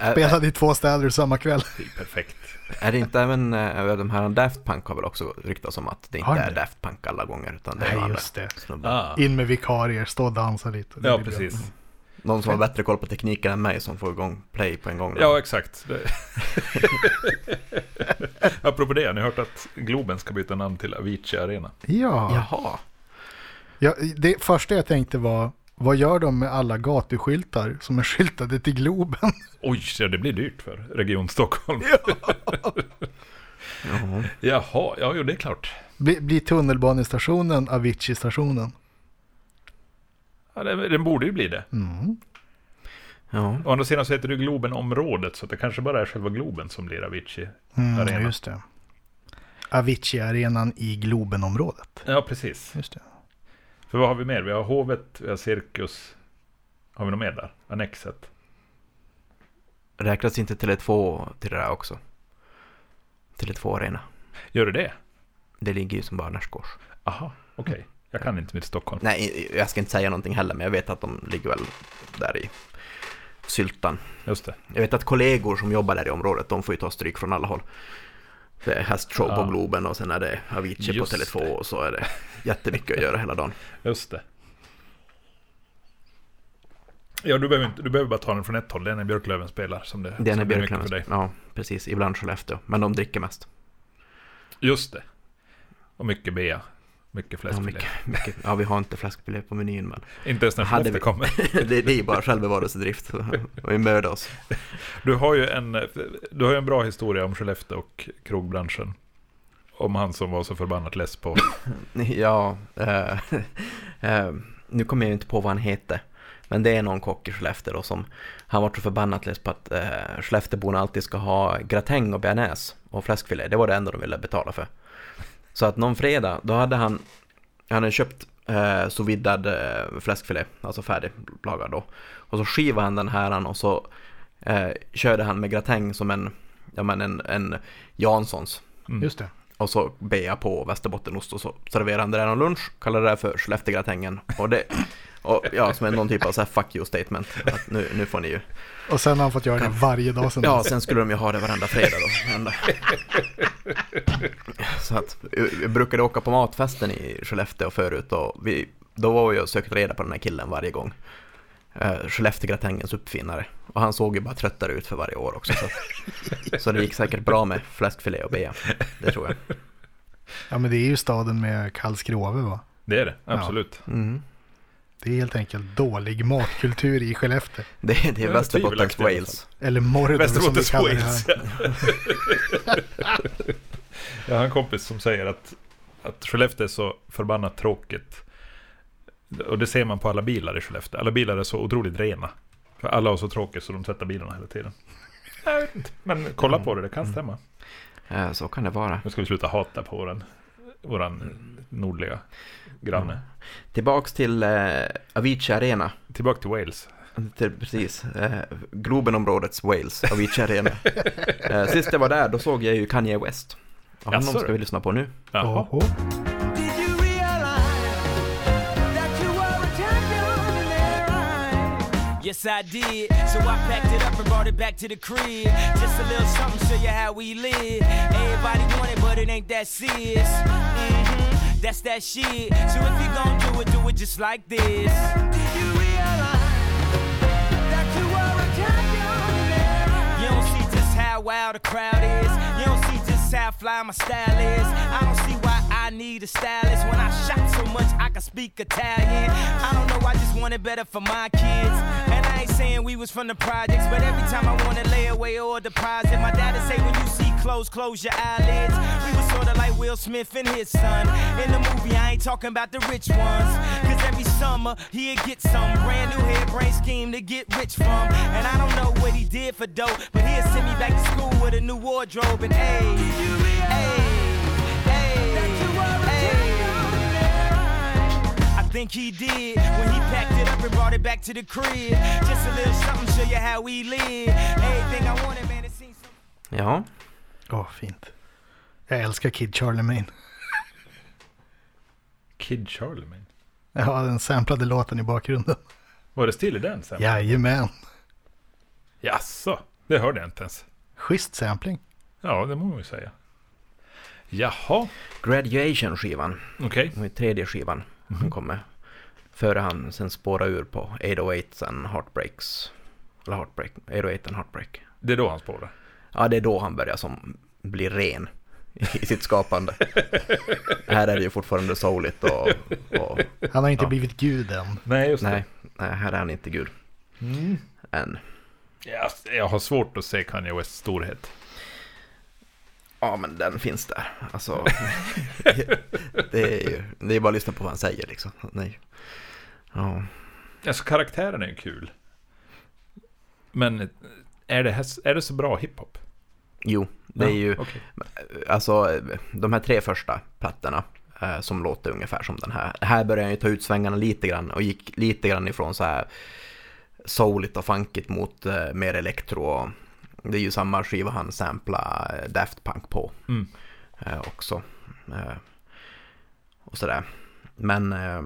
[SPEAKER 1] Ä-
[SPEAKER 3] Spelade i två städer samma kväll.
[SPEAKER 2] Det är perfekt.
[SPEAKER 1] Är det inte även eh, de här Daft Punk har väl också ryktats om att det inte
[SPEAKER 3] Har
[SPEAKER 1] är
[SPEAKER 3] det?
[SPEAKER 1] Daft Punk alla gånger utan det är
[SPEAKER 3] Nej,
[SPEAKER 1] andra
[SPEAKER 3] just det.
[SPEAKER 1] snubbar.
[SPEAKER 2] Ah.
[SPEAKER 3] In med vikarier, stå och dansa lite. Det
[SPEAKER 2] Ja,
[SPEAKER 3] blir bra.
[SPEAKER 2] precis.
[SPEAKER 1] Någon som har bättre koll på tekniken än mig som får igång play på en gång.
[SPEAKER 2] Ja, exakt. Det- <laughs> Apropå det, har ni hört att Globen ska byta namn till Avicii Arena?
[SPEAKER 3] Ja.
[SPEAKER 1] Jaha,
[SPEAKER 3] Ja, det första jag tänkte var, vad gör de med alla gatuskyltar som är skyltade till Globen? <laughs>
[SPEAKER 2] Oj, ja, det blir dyrt för Region Stockholm.
[SPEAKER 1] Jaha.
[SPEAKER 2] Jaha, ja, jo, det är klart.
[SPEAKER 3] Blir blir tunnelbanestationen Avicii-stationen?
[SPEAKER 2] Ja, det, den borde ju bli det.
[SPEAKER 1] Mm. Ja.
[SPEAKER 2] Å andra sidan så heter det ju Globenområdet, så att det kanske bara är själva Globen som blir Avicii
[SPEAKER 1] Mm.
[SPEAKER 2] Arena.
[SPEAKER 3] Mm, just det. Avicii-arenan i Globenområdet.
[SPEAKER 2] Ja, precis.
[SPEAKER 3] Just det.
[SPEAKER 2] För vad har vi mer? Vi har Hovet, vi har Cirkus. Har vi något mer där? Annexet.
[SPEAKER 1] Räknas inte Tele2 till det där också? Tele2 Arena.
[SPEAKER 2] Gör du det?
[SPEAKER 1] Det ligger ju som barnärtskors.
[SPEAKER 2] Aha, okej. Jag kan inte mitt Stockholm.
[SPEAKER 1] Nej, jag ska inte säga någonting heller, men jag vet att de ligger väl där i syltan.
[SPEAKER 2] Just det.
[SPEAKER 1] Jag vet att kollegor som jobbar där i området, de får ju ta stryk från alla håll. Det är Hastrow
[SPEAKER 2] Ja.
[SPEAKER 1] på Globen och sen är det Avicii
[SPEAKER 2] Just
[SPEAKER 1] på Tele2
[SPEAKER 2] det.
[SPEAKER 1] och så är det jättemycket att göra hela
[SPEAKER 2] <laughs>
[SPEAKER 1] dagen.
[SPEAKER 2] Just det. Ja, du behöver, inte, du behöver bara ta den från ett håll. Det är när Björklöven spelar som det,
[SPEAKER 1] Den är
[SPEAKER 2] som blir mycket
[SPEAKER 1] Björklöven. Ja, precis. Ibland Skellefteå. Men de dricker mest.
[SPEAKER 2] Just det. Och mycket bea. Mycket
[SPEAKER 1] Ja,
[SPEAKER 2] fläskfilé.
[SPEAKER 1] mycket, mycket. ja, vi har inte fläskfilé på menyn, men
[SPEAKER 2] Inte ens när
[SPEAKER 1] Hade
[SPEAKER 2] Skellefteå
[SPEAKER 1] vi-
[SPEAKER 2] kommer.
[SPEAKER 1] <laughs> det, det är bara
[SPEAKER 2] <laughs>
[SPEAKER 1] självbevarelsedrift. Och vi mördar oss.
[SPEAKER 2] Du har, ju en, du har ju en bra historia om Skellefteå och krogbranschen. Om han som var så förbannat less på...
[SPEAKER 1] <laughs> Ja, eh, <laughs> eh, nu kommer jag ju inte på vad han heter. Men det är någon kock i Skellefteå då som, han var så förbannat less på att eh, Skellefteåborna alltid ska ha gratäng och bearnaise och fläskfilé. Det var det enda de ville betala för. Så att någon fredag, då hade han, han hade köpt eh, sous vidad eh, fläskfilé, alltså färdiglagad då. Och så skivade han den här och så eh, körde han med gratäng som en, ja men en, en Janssons.
[SPEAKER 3] Just det.
[SPEAKER 1] Och så bea på västerbottenost och så serverade han det där någon lunch, kallade det där för Skellefteågratängen. Och det, Och, ja, som är någon typ av så här fuck you statement. Att nu, nu får ni ju.
[SPEAKER 3] Och sen har han fått göra det varje dag sen
[SPEAKER 1] <laughs> Ja,
[SPEAKER 3] dess.
[SPEAKER 1] sen skulle de ju ha det varenda fredag då. Varenda. Så att, eh, jag brukade åka på matfesten i Skellefteå förut och vi, då var vi och sökte reda på den här killen varje gång. Uh, Skellefteågratängens uppfinnare. Och han såg ju bara tröttare ut för varje år också. Så, att- så det gick säkert bra med fläskfilé och bea. Det tror jag.
[SPEAKER 3] ja, men det är ju staden med Karlskrove va?
[SPEAKER 2] Det är det, absolut.
[SPEAKER 1] Mm.
[SPEAKER 3] Det är helt enkelt dålig matkultur i Skellefteå.
[SPEAKER 1] Det, det
[SPEAKER 2] Det
[SPEAKER 1] är
[SPEAKER 2] är
[SPEAKER 1] Västerbottens
[SPEAKER 2] tvivelaktigt i alla
[SPEAKER 1] Wales.
[SPEAKER 3] Eller Mordor som vi
[SPEAKER 2] Västerbottens
[SPEAKER 3] kallar det här.
[SPEAKER 2] Wales. <laughs> Jag har en kompis som säger att, att Skellefteå är så förbannat tråkigt. Och det ser man på alla bilar i Skellefteå. Alla bilar är så otroligt rena. För alla har så tråkigt så de tvättar bilarna hela tiden. Jag vet inte, Men kolla
[SPEAKER 3] Mm.
[SPEAKER 2] på det, det kan stämma.
[SPEAKER 1] Eh, Så kan det vara.
[SPEAKER 2] Nu ska vi sluta hata på våran, våran nordliga granne.
[SPEAKER 3] Mm.
[SPEAKER 1] Tillbaks till eh, Avicii Arena.
[SPEAKER 2] Tillbaka till Wales.
[SPEAKER 1] Till, precis. Eh, Globenområdets Wales, Avicii
[SPEAKER 2] <laughs>
[SPEAKER 1] Arena. eh, sist jag var där, då såg jag ju Kanye West. Och honom
[SPEAKER 2] Jaså,
[SPEAKER 1] ska
[SPEAKER 2] du?
[SPEAKER 1] vi lyssna på nu.
[SPEAKER 2] Jaha.
[SPEAKER 3] Oho.
[SPEAKER 7] Did you realize that you were a champion in their eyes?
[SPEAKER 10] Yes, I did. So I packed it up and brought it back to the crib. Just a little something, show you how we live. Everybody want it, but it ain't that serious. hmm That's that shit. So if you gon' do it, do it just like this.
[SPEAKER 7] Did you realize that you were a champion in their eyes?
[SPEAKER 10] You don't see just how wild the crowd is. You don't see just how fly my style is. I don't see why I need a stylist when I shot so much I can speak Italian. I don't know, I just want it better for my kids. And I ain't saying we was from the projects, but every time I want to lay away or a deposit, my dad would say when you see clothes, close your eyelids. We was sorta like Will Smith and his son. In the movie, I ain't talking about the rich ones. Cause every summer, he'd get some brand new hairbrain scheme to get rich from. And I don't know what he did for dope, but he'd send me back to school with a new wardrobe and hey, hey, hey. I think he did when he packed it up and brought it back to the crib. Just a little something, show you how we live. Everything I wanted, man, it seems so.
[SPEAKER 1] Ja,
[SPEAKER 3] Åh, fint. Jag älskar Kid Charlemagne.
[SPEAKER 2] Kid Charlemagne.
[SPEAKER 3] Ja, den samplade låten i bakgrunden.
[SPEAKER 2] Var det still i den sen?
[SPEAKER 3] Jajamän.
[SPEAKER 2] Jaså, det hörde jag inte ens.
[SPEAKER 3] Schysst sampling.
[SPEAKER 2] Ja, det må man ju säga. Jaha,
[SPEAKER 1] Graduation-skivan.
[SPEAKER 2] okej.
[SPEAKER 1] Den var ju tredje skivan
[SPEAKER 2] Mhm.
[SPEAKER 1] som kommer. Före han sen spårar ur på 808 sen Heartbreaks. Eller Heartbreak, 808 and Heartbreak.
[SPEAKER 2] Det är då han spårar.
[SPEAKER 1] Ja, det är då han börjar som blir ren i sitt skapande. här är det ju fortfarande souligt och, och
[SPEAKER 3] Han har inte blivit gud än.
[SPEAKER 2] Nej, just
[SPEAKER 1] nej, nej, här är han inte gud. Än.
[SPEAKER 2] det. Jag, jag har svårt att se Kanye Wests storhet.
[SPEAKER 1] Ja, men den finns där. Alltså, det är ju det är bara att lyssna på vad han säger liksom. Nej. Ja,
[SPEAKER 2] Alltså karaktären är ju kul. Men eh, är det, här, är det så bra hiphop?
[SPEAKER 1] jo, det är ju,
[SPEAKER 2] Ja, okej.
[SPEAKER 1] alltså de här tre första plattorna eh, som låter ungefär som den här. Här började jag ju ta ut svängarna lite grann och gick lite grann ifrån så här souligt och funkigt mot eh, mer elektro. och- Det är ju samma skiva han samplar eh, Daft Punk på
[SPEAKER 2] Mm.
[SPEAKER 1] eh, också. Eh, och sådär. Men, eh,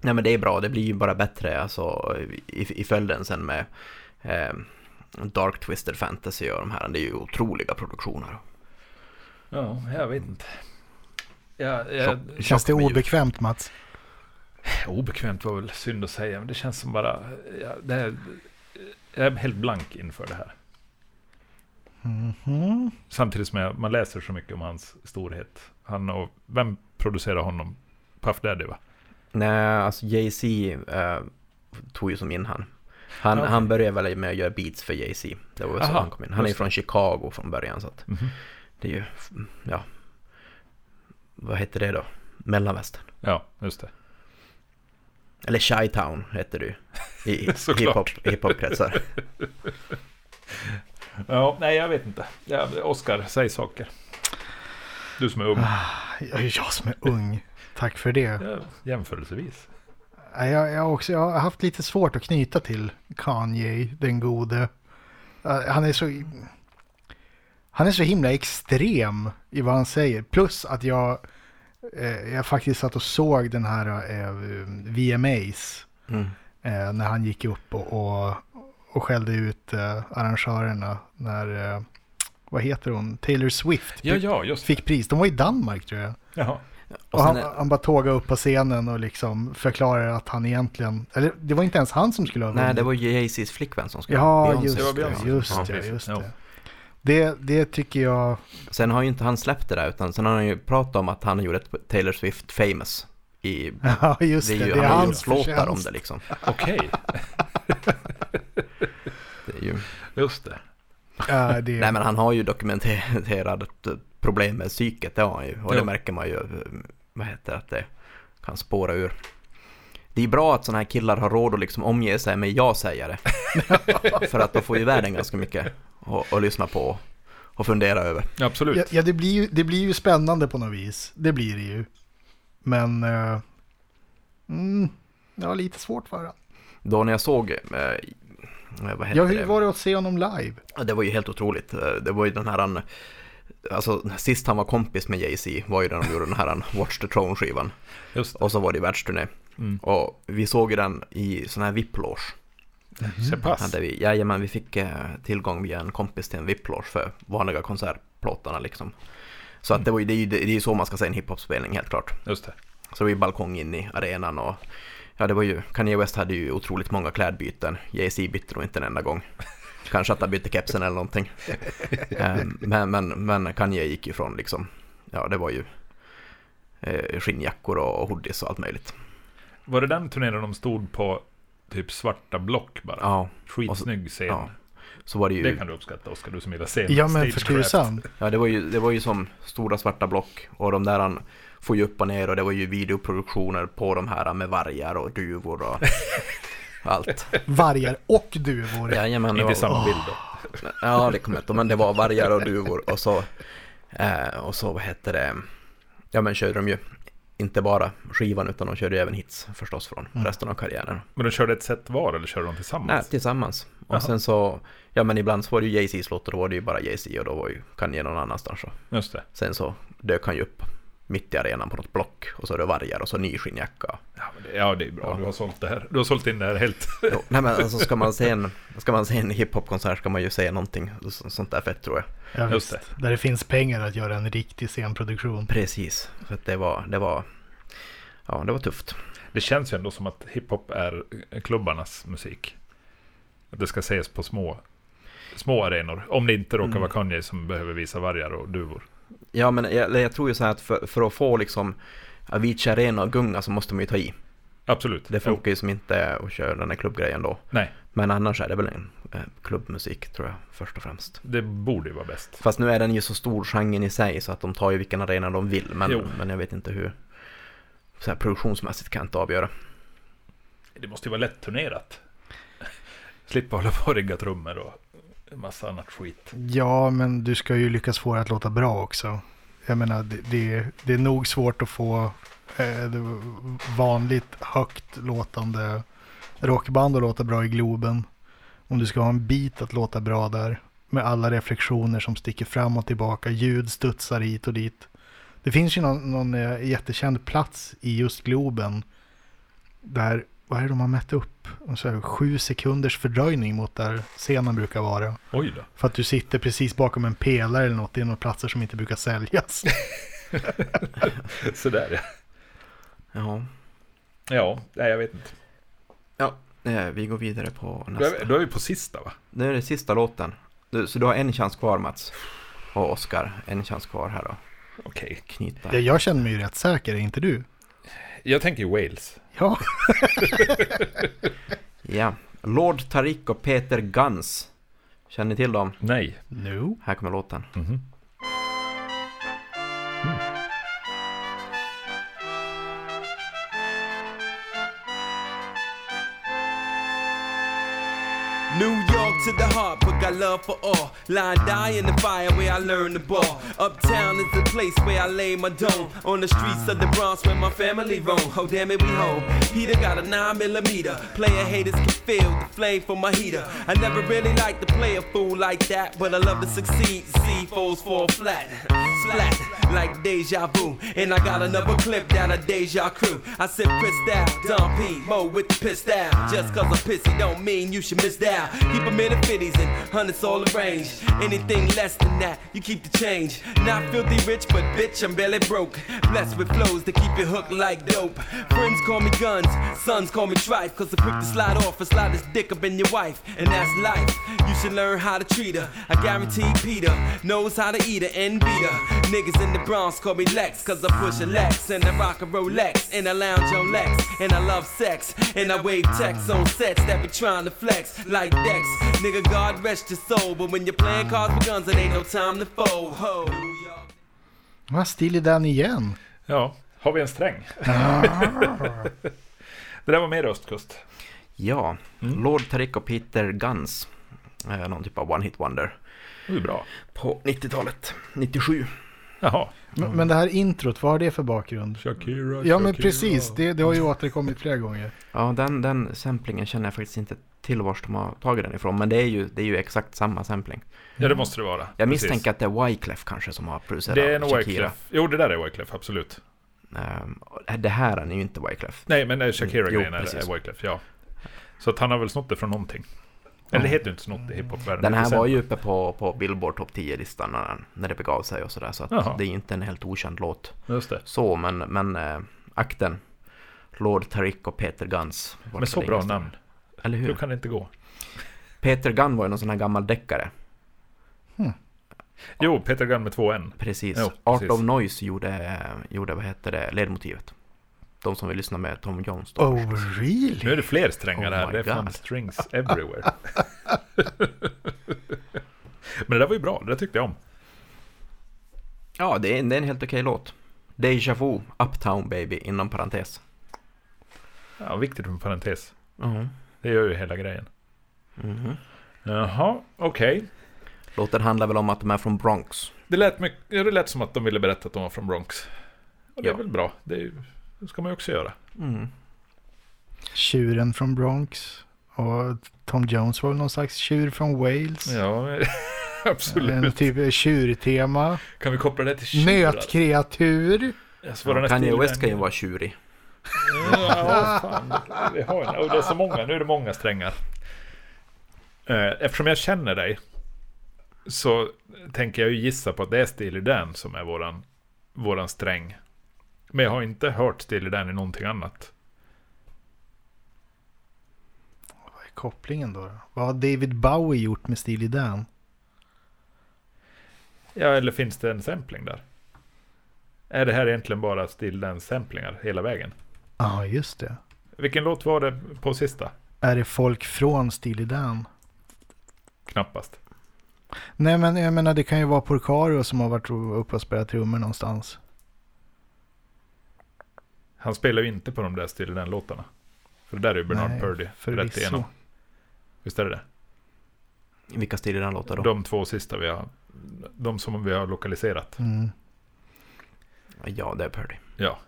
[SPEAKER 1] nej, men det är bra, det blir ju bara bättre alltså, i, i följden sen med eh, Dark Twisted Fantasy och de här. Det är ju otroliga produktioner.
[SPEAKER 2] Ja, jag vet inte. Ja, jag,
[SPEAKER 1] Tjock-
[SPEAKER 3] Känns det
[SPEAKER 1] tjock med ljud.
[SPEAKER 3] obekvämt Mats?
[SPEAKER 2] obekvämt var väl synd att säga, men det känns som bara... Ja, det är, jag är helt blank inför det här.
[SPEAKER 3] Mhm.
[SPEAKER 2] Samtidigt som jag, man läser så mycket om hans storhet. Han och, vem producerar honom? Puff Daddy va?
[SPEAKER 1] Nej, alltså Jay-Z eh, tog ju som in han. Han,
[SPEAKER 2] Ja, Ah, okej.
[SPEAKER 1] han började väl med att göra beats för Jay-Z. Det var väl så
[SPEAKER 2] Aha,
[SPEAKER 1] han kom in. Han är ju
[SPEAKER 2] just Mhm.
[SPEAKER 1] från Chicago från början så att det är ju, ja. Vad heter det då? Mellanvästern.
[SPEAKER 2] Ja, just det.
[SPEAKER 1] Eller Chi-Town heter det ju. I
[SPEAKER 2] <laughs> Såklart.
[SPEAKER 1] hiphop- hiphop-kretsar.
[SPEAKER 2] Ja, nej jag vet inte. Ja, Oskar, säg saker. Du som är ung.
[SPEAKER 3] Jag är jag som är ung. Tack för det.
[SPEAKER 2] Ja, jämförelsevis.
[SPEAKER 3] Nej, Jag, jag, har också, jag har haft lite svårt att knyta till Kanye, den gode. Eh, Han är så... Han är så himla extrem i vad han säger. Plus att jag eh, jag faktiskt satt och såg den här eh, VMAs
[SPEAKER 1] Mm.
[SPEAKER 3] eh, när han gick upp och, och, och skällde ut eh, arrangörerna när, eh, vad heter hon, Taylor Swift
[SPEAKER 2] Ja, ja, just det.
[SPEAKER 3] fick pris. De var i Danmark tror jag.
[SPEAKER 2] Jaha.
[SPEAKER 1] Och
[SPEAKER 3] Och han,
[SPEAKER 1] sen är-
[SPEAKER 3] han bara tågade upp på scenen och liksom förklarade att han egentligen, eller det var inte ens han som skulle ha
[SPEAKER 1] Nej,
[SPEAKER 3] vunnit.
[SPEAKER 1] det var ju Jay-Z's flickvän som skulle
[SPEAKER 3] Ja,
[SPEAKER 1] Beyoncé.
[SPEAKER 3] just
[SPEAKER 2] Det var
[SPEAKER 3] det.
[SPEAKER 2] Beyoncé.
[SPEAKER 3] Just
[SPEAKER 2] Ja,
[SPEAKER 3] det,
[SPEAKER 2] precis.
[SPEAKER 3] just
[SPEAKER 2] Ja.
[SPEAKER 3] det. Det, det tycker jag, <laughs>
[SPEAKER 1] Sen har ju inte han släppt det där, utan sen har han ju pratat om att han gjorde ett Taylor Swift famous. I,
[SPEAKER 3] ja just det, det,
[SPEAKER 1] ju,
[SPEAKER 3] är
[SPEAKER 1] han har ju
[SPEAKER 3] hans
[SPEAKER 1] gjort låtar om <laughs>
[SPEAKER 3] förtjänst.
[SPEAKER 1] det liksom.
[SPEAKER 2] Okej,
[SPEAKER 1] Det är ju,
[SPEAKER 2] just det.
[SPEAKER 3] Ja, det,
[SPEAKER 1] nej men han har ju dokumenterat ett problem med psyket, det har han ju. Och det
[SPEAKER 2] Jo.
[SPEAKER 1] märker man ju, eh, vad heter det, att det kan spåra ur. Det är bra att sådana här killar har råd att liksom omge sig med ja-sägare. <laughs> För att då får ju världen ganska mycket att, att lyssna på och fundera över.
[SPEAKER 2] Absolut.
[SPEAKER 3] ja, ja, det, blir ju, det blir ju spännande på något vis. Det blir det ju. Men, eh, mm, det var lite svårt för honom.
[SPEAKER 1] Då när jag såg, eh, vad heter
[SPEAKER 3] Ja,
[SPEAKER 1] det?
[SPEAKER 3] hur var det att se honom live?
[SPEAKER 1] Ja, Det var ju helt otroligt. Eh, Det var ju den här... han- Alltså, sist han var kompis med Jay-Z var ju när de gjorde den här han Watch the Throne-skivan.
[SPEAKER 2] Just det.
[SPEAKER 1] Och så var det ju världsturné.
[SPEAKER 2] Mm.
[SPEAKER 1] Och vi såg ju den i sån här VIP-loge.
[SPEAKER 2] Så pass.
[SPEAKER 1] Hade vi, jajamän, vi fick eh, tillgång via en kompis till en VIP-loge för vanliga konsertplåtarna liksom. Så att det, var ju, det, är ju, det är ju så man ska se en hiphop-spelning helt klart.
[SPEAKER 2] Just det.
[SPEAKER 1] Så det var ju balkong in i arenan och ja, det var ju, Kanye West hade ju otroligt många klädbyten. Jay-Z bytte nog inte en enda gång. Kanske att han bytte kepsen eller
[SPEAKER 2] <laughs>
[SPEAKER 1] någonting. Eh, men, men, men Kanye gick ju från liksom, ja det var ju eh, skinnjackor och hoodies och allt möjligt.
[SPEAKER 2] Var det den turnén där de stod på typ svarta block bara?
[SPEAKER 1] Ja,
[SPEAKER 2] Skitsnygg scen.
[SPEAKER 1] ja. så var det
[SPEAKER 2] Det
[SPEAKER 1] ju,
[SPEAKER 2] kan du uppskatta Oskar, du som gillar scen.
[SPEAKER 3] Ja, men för
[SPEAKER 2] stagecraft.
[SPEAKER 3] tusan.
[SPEAKER 1] ja, det var ju, det var ju som stora svarta block och de där han får ju upp och ner och det var ju videoproduktioner på de här med vargar och duvor
[SPEAKER 2] <laughs>
[SPEAKER 1] och allt.
[SPEAKER 3] Vargar och
[SPEAKER 1] <laughs>
[SPEAKER 3] duvor.
[SPEAKER 1] Jajamän, det
[SPEAKER 2] Inte
[SPEAKER 1] var-
[SPEAKER 2] i samma bild då.
[SPEAKER 1] Ja, det kommer jag inte ihåg, men det var vargar och duvor och så, eh, och så vad heter det, ja men körde de ju inte bara skivan utan de körde ju även hits förstås från resten av karriären.
[SPEAKER 2] Men de körde ett set var eller körde de
[SPEAKER 1] Nej,
[SPEAKER 2] tillsammans?
[SPEAKER 1] tillsammans. Och
[SPEAKER 2] Jaha.
[SPEAKER 1] sen så, ja men ibland så var det ju Jay-Z's låt och då var det ju bara Jay-Z och då var ju Kanye någon annanstans. Och
[SPEAKER 2] Just det.
[SPEAKER 1] sen så dök han ju upp mitt i arenan på något block och så är det vargar och så ny skinnjacka.
[SPEAKER 2] Ja, men det, ja, det är bra. Du har sålt det här. Du har sålt in det här helt.
[SPEAKER 1] Jo, nej men alltså ska man se en, ska man se en hiphopkonsert ska man ju se någonting så- sånt där fett tror jag.
[SPEAKER 3] Ja,
[SPEAKER 2] Just
[SPEAKER 3] visst. Där det finns pengar att göra en riktig scenproduktion.
[SPEAKER 1] Precis, så att det var, det var, ja det var tufft.
[SPEAKER 2] <laughs> Det känns ju ändå som att hiphop är eh, klubbarnas musik. Att det ska ses på små, små arenor. Om det inte råkar vara Kanye som behöver visa vargar och duvor.
[SPEAKER 1] Ja, men jag, jag tror ju så här att för, för att få liksom Avicii Arena och gunga så måste man ju ta i.
[SPEAKER 2] Absolut.
[SPEAKER 1] Det
[SPEAKER 2] Jo,
[SPEAKER 1] funkar ju som inte att köra den här klubbgrejen då.
[SPEAKER 2] Nej,
[SPEAKER 1] Men annars är det väl en eh, klubbmusik tror jag först och främst.
[SPEAKER 2] det borde ju vara bäst.
[SPEAKER 1] Fast nu är den ju så stor genren i sig så att de tar ju vilken arena de vill.
[SPEAKER 2] Jo.
[SPEAKER 1] Men, men jag vet inte hur. Så här produktionsmässigt kan jag inte avgöra.
[SPEAKER 2] Det måste ju vara lätt turnerat. Slippa hålla på och rigga trummor och en massa annat skit.
[SPEAKER 3] Ja, men du ska ju lyckas få det att låta bra också. Jag menar, det, det, det är nog svårt att få eh, det- vanligt högt låtande rockband att låta bra i Globen. Om du ska ha en bit att låta bra där, med alla reflektioner som sticker fram och tillbaka, ljud studsar hit och dit. Det finns ju någon, någon eh, jättekänd plats i just Globen där, vad är det de har mätt upp? Så här, sju sekunders fördröjning mot där scenen brukar vara.
[SPEAKER 2] Oj då.
[SPEAKER 3] För att du sitter precis bakom en pelare eller något. Det är några platser som inte brukar säljas.
[SPEAKER 2] Sådär ja.
[SPEAKER 1] Ja,
[SPEAKER 2] Ja, nej jag vet inte.
[SPEAKER 1] ja eh, vi går vidare på
[SPEAKER 2] Då är, vi-
[SPEAKER 1] nästa.
[SPEAKER 2] då är vi på sista va?
[SPEAKER 1] Nu är det sista låten. Du, så du har en chans kvar Mats. Och Oskar, en chans kvar här då.
[SPEAKER 2] Okej.
[SPEAKER 1] Knyta.
[SPEAKER 3] Ja, Jag känner mig ju rätt säker, är inte du?
[SPEAKER 2] Jag tänker Wales.
[SPEAKER 3] Ja.
[SPEAKER 1] Ja, Lord Tarik och Peter Guns. Känner ni till dem?
[SPEAKER 2] Nej.
[SPEAKER 3] No.
[SPEAKER 1] Här kommer låten.
[SPEAKER 2] Mm.
[SPEAKER 10] New York
[SPEAKER 11] Strong to the heart, but got love for all. Lie and die in the fire where I learned the ball. Uptown is the place where I lay my dome. On the streets of the Bronx where my family roam. Oh damn it, we home. Peter got a 9 millimeter. Player haters can feel the flame from my heater. I never really liked to play a fool like that, but I love to succeed. See foes fall flat, flat like deja vu. And I got another clip down a deja crew. I sip Chris down, Don P, Mo with the piss down. Just cause I'm pissy don't mean you should miss down. Keep 'em in the fifties and hundreds all arranged. Anything less than that, you keep the change. Not filthy rich, but bitch, I'm barely broke. Blessed with flows that keep you hooked like dope. Friends call me guns, sons call me trife. Cause I'm quick to slide off and slide this dick up in your wife. And that's life. You should learn how to treat her. I guarantee Peter knows how to eat her and beat her. Niggas in the Bronx call me Lex, cause I push a Lex and I rock a Rolex and I lounge on Lex and I love sex and I wave texts on sets that be trying to flex like Dex. Nigga, God rest your soul, but when you're playing cards with guns, it ain't no time to fold. Ho.
[SPEAKER 3] Vad stilig den igen.
[SPEAKER 2] Ja, har vi en <laughs> sträng? det där var mer östkust.
[SPEAKER 1] Ja,
[SPEAKER 2] Mm.
[SPEAKER 1] Lord Tarik och Peter Guns. Eh, Någon typ av One Hit Wonder.
[SPEAKER 2] Det är bra.
[SPEAKER 1] På 90-talet, 97.
[SPEAKER 2] Jaha.
[SPEAKER 3] Men, men det här introt, vad har det för bakgrund?
[SPEAKER 2] Shakira,
[SPEAKER 3] Ja
[SPEAKER 2] Shakira.
[SPEAKER 3] men precis, det, det har ju återkommit flera gånger.
[SPEAKER 1] Ja, den, den samplingen känner jag faktiskt inte till vars de har tagit den ifrån. Men det är ju, det är ju exakt samma sampling.
[SPEAKER 2] Ja, det måste det vara.
[SPEAKER 1] Jag
[SPEAKER 2] Precis.
[SPEAKER 1] misstänker att det är Wyclef kanske som har producerat
[SPEAKER 2] Det är en
[SPEAKER 1] Shakira.
[SPEAKER 2] Wyclef. Jo, det där är Wyclef, absolut.
[SPEAKER 1] Ehm, och det här är ju inte Wyclef.
[SPEAKER 2] Nej, men eh, Shakira-grejen
[SPEAKER 1] Mm, Jo,
[SPEAKER 2] är,
[SPEAKER 1] precis.
[SPEAKER 2] är Wyclef, ja. Så att han har väl snott det från någonting. Eller det heter ju inte snott i hiphopvärlden.
[SPEAKER 1] Den
[SPEAKER 2] det är
[SPEAKER 1] här
[SPEAKER 2] present.
[SPEAKER 1] var ju uppe på, på Billboard topp 10-listan när, den- när det begav sig och sådär. Så att
[SPEAKER 2] Jaha.
[SPEAKER 1] det är ju inte en helt okänd låt.
[SPEAKER 2] Just det.
[SPEAKER 1] Så, men, men eh, akten. Lord Tarik och Peter Guns. Vart
[SPEAKER 2] Men så
[SPEAKER 1] det
[SPEAKER 2] bra
[SPEAKER 1] ingenstans.
[SPEAKER 2] namn.
[SPEAKER 1] Eller
[SPEAKER 2] Hur
[SPEAKER 1] hur?
[SPEAKER 2] kan det inte gå?
[SPEAKER 1] Peter Gunn var ju någon sån här gammal deckare.
[SPEAKER 2] Jo, Peter Gunn med två N.
[SPEAKER 1] Precis.
[SPEAKER 2] Jo,
[SPEAKER 1] Art
[SPEAKER 2] precis.
[SPEAKER 1] of Noise gjorde, gjorde, vad heter det, ledmotivet. De som vill lyssna med Tom Jones då.
[SPEAKER 3] Oh really?
[SPEAKER 2] Nu är det fler strängar
[SPEAKER 1] Oh
[SPEAKER 2] här.
[SPEAKER 1] my
[SPEAKER 2] Det är fan
[SPEAKER 1] God.
[SPEAKER 2] strings everywhere. <laughs> Men det där var ju bra. Det där tyckte jag om.
[SPEAKER 1] Ja, det är, det är en helt okej låt. Deja Vu, Uptown Baby, inom parentes.
[SPEAKER 2] Ja, viktigt med parentes.
[SPEAKER 1] Mhm.
[SPEAKER 2] Det gör ju hela grejen. Jaha, okej.
[SPEAKER 1] Låten handlar väl om att de är från Bronx.
[SPEAKER 2] Det, lät mycket- ja, det lät som att de ville berätta att de var från Bronx. Och det är
[SPEAKER 1] Ja.
[SPEAKER 2] väl bra. Det, är, ju- det ska man ju också göra.
[SPEAKER 3] Tjuren från Bronx. Och Tom Jones var väl någon slags tjur från Wales.
[SPEAKER 2] Ja,
[SPEAKER 3] En
[SPEAKER 2] <laughs> absolut.
[SPEAKER 3] typ tjurtema.
[SPEAKER 2] Kan vi koppla det till tjurar?
[SPEAKER 3] Nötkreatur.
[SPEAKER 2] Alltså, vad den här
[SPEAKER 1] Kanye
[SPEAKER 2] stilen-
[SPEAKER 1] West kan ju vara tjurig.
[SPEAKER 2] Ja, fan. Vi har en, och det är så många, nu är det många strängar. Eh, Eftersom jag känner dig så tänker jag ju gissa på att det är Steely Dan som är våran, våran sträng. Men jag har inte hört Steely Dan i någonting annat.
[SPEAKER 3] Vad är kopplingen då? Vad har David Bowie gjort med Steely Dan?
[SPEAKER 2] Ja, eller finns det en sampling där? Är det här egentligen bara Steely Dan samplingar hela vägen?
[SPEAKER 3] Ja, ah, just det.
[SPEAKER 2] Vilken låt var det på sista?
[SPEAKER 3] Är det folk från Steely Dan?
[SPEAKER 2] Knappast.
[SPEAKER 3] Nej, men jag menar det kan ju vara Porcaro som har varit uppe och spelat trummor någonstans.
[SPEAKER 2] Han spelar ju inte på de där Steely Dan-låtarna. För det där är ju Bernard
[SPEAKER 3] Nej,
[SPEAKER 2] Purdy rätt
[SPEAKER 3] förvisso.
[SPEAKER 2] igenom. Visst är det det?
[SPEAKER 1] Vilka stilar den låten då?
[SPEAKER 2] De två sista vi har, de som vi har lokaliserat.
[SPEAKER 3] Mm.
[SPEAKER 1] Ja, det är Purdy.
[SPEAKER 2] Ja.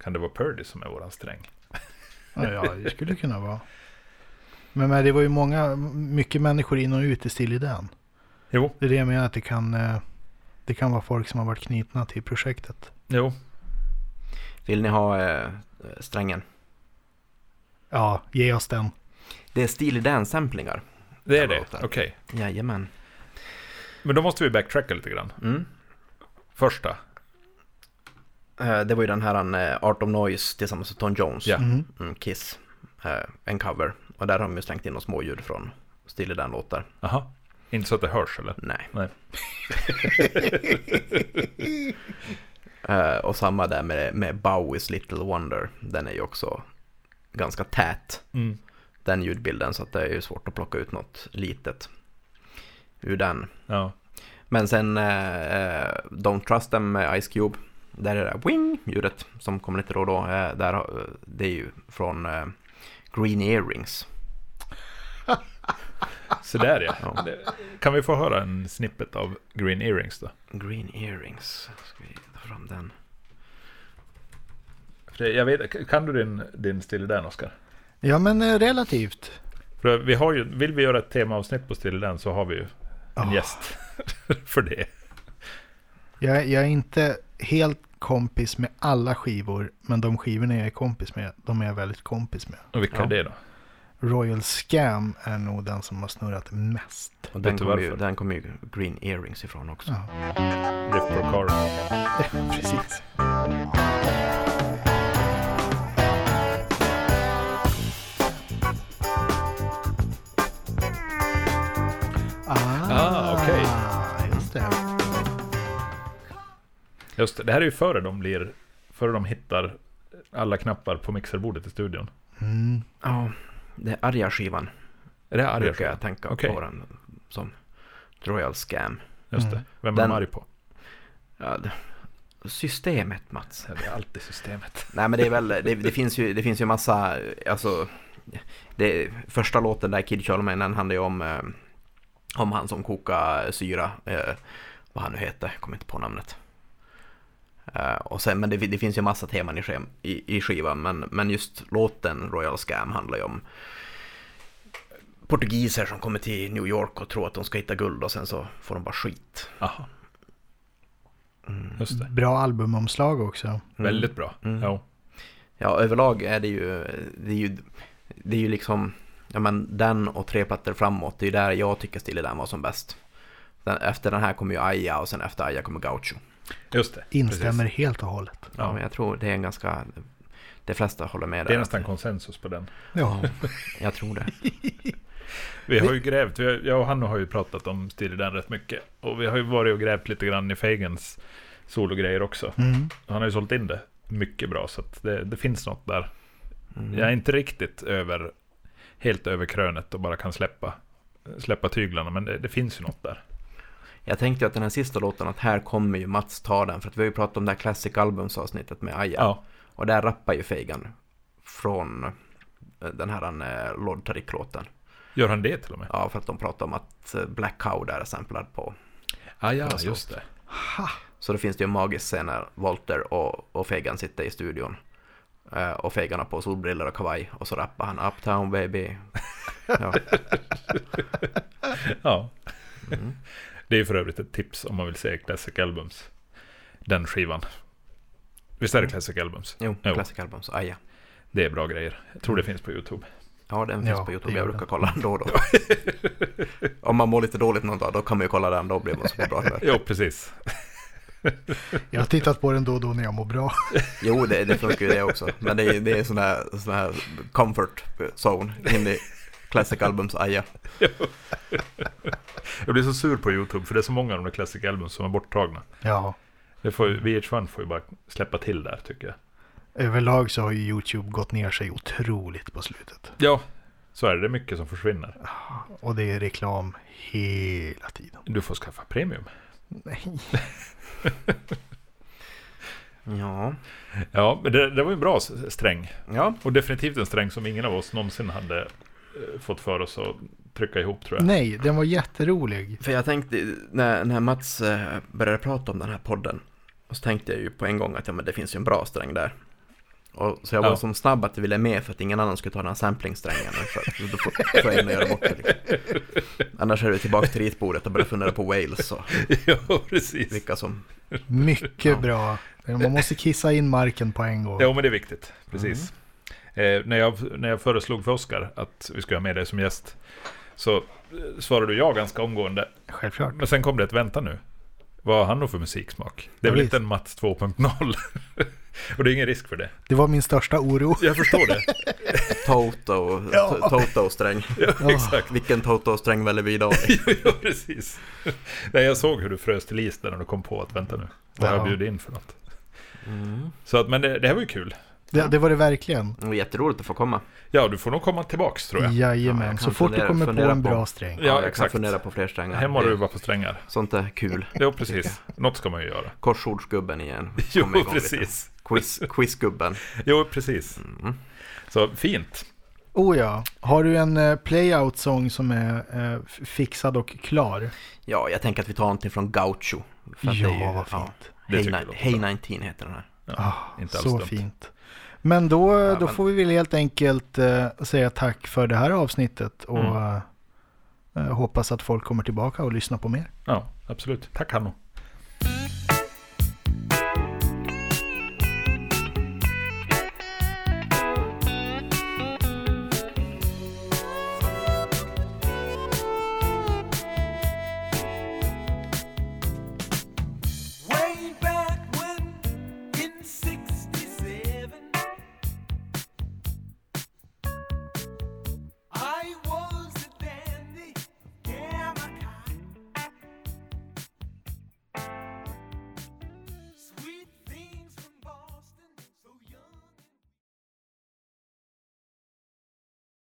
[SPEAKER 2] Kan det vara Purdy som är våran sträng?
[SPEAKER 3] Ja, ja, det skulle kunna vara. Men, men det var ju många, mycket människor in och ut i Steely Dan.
[SPEAKER 2] Jo,
[SPEAKER 3] Det är det jag menar att det kan, eh, det kan vara folk som har varit knutna till projektet.
[SPEAKER 2] jo.
[SPEAKER 1] Vill ni ha eh, strängen?
[SPEAKER 3] Ja, ge oss den.
[SPEAKER 1] Det är Steely Dan-samplingar.
[SPEAKER 2] Det är
[SPEAKER 1] Den
[SPEAKER 2] det,
[SPEAKER 1] låten.
[SPEAKER 2] okej.
[SPEAKER 1] Jajamän.
[SPEAKER 2] Men då måste vi backtracka lite grann.
[SPEAKER 1] Mm.
[SPEAKER 2] Första,
[SPEAKER 1] Eh, Det var ju den här eh, Art of Noise tillsammans med Tom Jones.
[SPEAKER 2] ja.
[SPEAKER 1] Mm, Kiss. Eh, En cover. Och där har de ju slängt in några småljud från Steely Dan-låtar.
[SPEAKER 2] Aha. Inte så att det hörs eller?
[SPEAKER 1] Nej.
[SPEAKER 2] Nej.
[SPEAKER 1] Eh, och samma där med, med Bowies Little Wonder. Den är ju också ganska tät,
[SPEAKER 2] Mm.
[SPEAKER 1] den ljudbilden, så att det är ju svårt att plocka ut något litet ur den.
[SPEAKER 2] Ja.
[SPEAKER 1] Men sen eh, eh, Don't Trust Them med Ice Cube. Där är det där wing-ljudet som kommer lite då och då. Eh, där, har- det är ju från eh, Green eh, Earrings.
[SPEAKER 2] Så där ja. Det- Kan vi få höra en snippet av Green Earrings då?
[SPEAKER 1] Green earrings. Ska vi ta fram den?
[SPEAKER 2] För det- jag vet, kan du din, din Still Dan, Oskar?
[SPEAKER 3] Ja, men eh, relativt.
[SPEAKER 2] För vi har ju, vill vi göra ett temaavsnitt på Still Dan så har vi ju en gäst <laughs> för det.
[SPEAKER 3] Jag, jag är inte helt kompis med alla skivor, men de skivorna jag är kompis med, de är jag väldigt kompis med.
[SPEAKER 2] Och vilka
[SPEAKER 1] Ja.
[SPEAKER 2] är det då?
[SPEAKER 3] Royal Scam är nog den som har snurrat mest.
[SPEAKER 1] Och den
[SPEAKER 2] du
[SPEAKER 1] kommer ju,
[SPEAKER 2] varför?
[SPEAKER 1] den kom ju Green earrings ifrån också.
[SPEAKER 3] Ja.
[SPEAKER 2] Riff for Car.
[SPEAKER 3] <laughs> Precis. Ah,
[SPEAKER 2] Ah, okej.
[SPEAKER 3] Just det.
[SPEAKER 2] Just det, det här är ju före de blir, före de hittar alla knappar på mixerbordet i studion.
[SPEAKER 3] Mm.
[SPEAKER 1] Ja, det är arga skivan.
[SPEAKER 2] Är det arga
[SPEAKER 1] brukar jag
[SPEAKER 2] skivan?
[SPEAKER 1] tänka
[SPEAKER 2] Okej.
[SPEAKER 1] på den som Royal Scam.
[SPEAKER 2] Just det.
[SPEAKER 3] Mm.
[SPEAKER 2] Vem är
[SPEAKER 1] Den-
[SPEAKER 2] de arg på?
[SPEAKER 1] Ja, det, systemet Mats.
[SPEAKER 2] Det är alltid systemet.
[SPEAKER 1] Nej men det är väl, det, det finns ju, det finns ju massa, alltså, det, första låten där Kid Charlemagne, den handlar ju om, eh, om han som kokar syra, eh, vad han nu heter, kommer inte på namnet. Eh, och sen, men det, det finns ju massa teman i, schem, i, i skivan, men, men just låten Royal Scam handlar ju om portugiser som kommer till New York och tror att de ska hitta guld och sen så får de bara skit.
[SPEAKER 2] Aha. Just det.
[SPEAKER 3] Bra albumomslag också.
[SPEAKER 2] Väldigt bra. Ja.
[SPEAKER 1] Ja, överlag är det ju, det är ju, det är ju liksom, ja men den och tre plattor framåt, det är ju där jag tycker Stille Dan var som bäst. Den, efter den här kommer ju Aja och sen efter Aja kommer Gaucho.
[SPEAKER 2] Just det.
[SPEAKER 3] Instämmer
[SPEAKER 2] Precis.
[SPEAKER 3] helt och hållet.
[SPEAKER 1] Ja, men jag tror det är en ganska, de flesta håller med
[SPEAKER 2] Det
[SPEAKER 1] där.
[SPEAKER 2] är nästan konsensus på den.
[SPEAKER 3] Ja.
[SPEAKER 1] <laughs> Jag tror det.
[SPEAKER 2] Vi har ju grävt, vi har, jag och Hanno har ju pratat om Steely Dan rätt mycket. Och vi har ju varit och grävt lite grann i Fagans sologrejer också.
[SPEAKER 3] Mm.
[SPEAKER 2] Han har ju sålt in det mycket bra, så att det, det finns något där. Jag är inte riktigt över, helt över krönet och bara kan släppa, släppa tyglarna, men det, det finns ju något där.
[SPEAKER 1] Jag tänkte ju att den här sista låten, att här kommer ju Mats ta den, för att vi har ju pratat om det här Classic Albums-avsnittet med Aja.
[SPEAKER 2] Ja,
[SPEAKER 1] Och där rappar ju Fagan från eh, den här eh, Lord Tarik-låten.
[SPEAKER 2] gör han det till och med?
[SPEAKER 1] Ja, för att de pratar om att eh, Black Cow där är samplad på
[SPEAKER 2] Ah, ja,
[SPEAKER 1] Alltså.
[SPEAKER 2] just det.
[SPEAKER 1] Så då finns det ju en magisk scen när Walter och, och Fegan sitter i studion. Eh, och Fegan har på solbrillor och kavaj och så rappar han Uptown baby. Ja,
[SPEAKER 2] Ja. <laughs> Det är ju för övrigt ett tips om man vill se Classic Albums. Den skivan. Visst är det Classic Albums?
[SPEAKER 1] jo,
[SPEAKER 2] Jo.
[SPEAKER 1] Classic Albums, aja.
[SPEAKER 2] Det är bra grejer. Jag tror det finns på YouTube.
[SPEAKER 1] Ja, den finns
[SPEAKER 3] Ja,
[SPEAKER 1] på
[SPEAKER 3] det
[SPEAKER 1] YouTube,
[SPEAKER 3] gör
[SPEAKER 1] jag
[SPEAKER 3] den.
[SPEAKER 1] brukar kolla den då
[SPEAKER 3] <laughs>
[SPEAKER 1] och då. Om man mår lite dåligt någon dag, då kan man ju kolla den, då blir man så på bra humör.
[SPEAKER 2] <laughs> Jo, precis.
[SPEAKER 3] Jag har tittat på den då och då när jag mår bra.
[SPEAKER 1] Jo, det, det funkar ju det också. Men det är, det är sån, här, sån här comfort zone in i Classic Albums, aja.
[SPEAKER 2] Jag blir så sur på YouTube för det är så många av de där Classic Albums som är borttagna.
[SPEAKER 3] Ja.
[SPEAKER 2] Det får, ju- VH1 får ju bara släppa till där tycker jag.
[SPEAKER 3] Överlag så har ju YouTube gått ner sig otroligt på slutet.
[SPEAKER 2] Ja. Så är det, det är mycket som försvinner.
[SPEAKER 3] Och det är reklam hela tiden.
[SPEAKER 2] Du får skaffa premium.
[SPEAKER 3] Nej.
[SPEAKER 1] Ja,
[SPEAKER 2] Ja, men det, det var ju en bra s- sträng.
[SPEAKER 1] ja
[SPEAKER 2] Och definitivt en sträng som ingen av oss någonsin hade eh, fått för oss att trycka ihop tror jag.
[SPEAKER 3] Nej, den var jätterolig.
[SPEAKER 1] För jag tänkte, när, när Mats eh, började prata om den här podden, så tänkte jag ju på en gång att ja, men det finns ju en bra sträng där. Och, så jag var
[SPEAKER 2] Ja.
[SPEAKER 1] som snabb att jag ville med för att ingen annan skulle ta den här samplingsträngen. För att då får får jag in och göra bort det. Liksom. Annars är det tillbaka till ritbordet och börja fundera på Wales och
[SPEAKER 2] <laughs> ja, precis.
[SPEAKER 1] vilka som...
[SPEAKER 3] Mycket bra. Man måste kissa in marken på en gång.
[SPEAKER 2] Ja, men det är viktigt. Precis. Eh, när, jag, när jag föreslog för Oskar att vi skulle ha med dig som gäst så eh, svarade du ja ganska omgående.
[SPEAKER 3] Självklart.
[SPEAKER 2] Men sen kom det ett vänta nu. Vad har han då för musiksmak? Det är
[SPEAKER 3] Ja,
[SPEAKER 2] väl
[SPEAKER 3] visst.
[SPEAKER 2] inte en Mats 2.0? <laughs> Och det är ingen risk för det.
[SPEAKER 3] Det var min största oro.
[SPEAKER 2] Jag förstår det.
[SPEAKER 3] <laughs>
[SPEAKER 1] Toto,
[SPEAKER 3] Ja.
[SPEAKER 1] Toto-sträng.
[SPEAKER 2] ja, exakt.
[SPEAKER 1] Vilken Toto-sträng väljer vi
[SPEAKER 2] <laughs>
[SPEAKER 1] idag?
[SPEAKER 2] ja, precis. Nej, jag såg hur du frös till is där när du kom på att vänta nu. Vad har jag
[SPEAKER 3] Ja. Mm.
[SPEAKER 2] bjudit in för något? Så att, men det, det här var ju kul.
[SPEAKER 3] Det, det var det verkligen.
[SPEAKER 1] Det var jätteroligt att få komma.
[SPEAKER 2] Ja, du får nog komma tillbaks tror jag.
[SPEAKER 1] Ja,
[SPEAKER 3] Jajamän,
[SPEAKER 1] jag kan
[SPEAKER 3] så fort du
[SPEAKER 1] fundera-
[SPEAKER 3] kommer på
[SPEAKER 1] fundera
[SPEAKER 3] en
[SPEAKER 1] på-
[SPEAKER 3] bra sträng.
[SPEAKER 2] Ja,
[SPEAKER 1] jag kan
[SPEAKER 2] exakt.
[SPEAKER 1] fundera på fler strängar.
[SPEAKER 2] Här må du
[SPEAKER 1] Det-
[SPEAKER 2] vara på strängar.
[SPEAKER 1] Sånt är kul.
[SPEAKER 2] Jo, precis. Något ska man ju göra.
[SPEAKER 1] Korsordsgubben igen.
[SPEAKER 2] <laughs> Jo,
[SPEAKER 1] Kommer igång lite.
[SPEAKER 2] precis.
[SPEAKER 3] Mm.
[SPEAKER 1] Quiz, quizgubben.
[SPEAKER 2] Jo, precis. Så fint.
[SPEAKER 3] Oh ja. Har du en eh, playout-sång som är eh, f- fixad och klar?
[SPEAKER 1] Ja, jag tänker att vi tar någonting från Gaucho. För att
[SPEAKER 3] Ja,
[SPEAKER 1] det är ju-
[SPEAKER 3] vad fint.
[SPEAKER 1] Ja,
[SPEAKER 2] Det
[SPEAKER 1] hey,
[SPEAKER 2] tycker jag
[SPEAKER 1] Ni-
[SPEAKER 2] låter
[SPEAKER 1] hey
[SPEAKER 2] bra.
[SPEAKER 1] 19 heter den här.
[SPEAKER 2] Ja, inte alls
[SPEAKER 3] så
[SPEAKER 2] dumt.
[SPEAKER 3] fint. Men då, då
[SPEAKER 1] men-
[SPEAKER 3] får vi väl helt enkelt eh, säga tack för det här avsnittet
[SPEAKER 2] Mm.
[SPEAKER 3] och eh, hoppas att folk kommer tillbaka och lyssnar på mer.
[SPEAKER 2] Ja, absolut. Tack Hanno.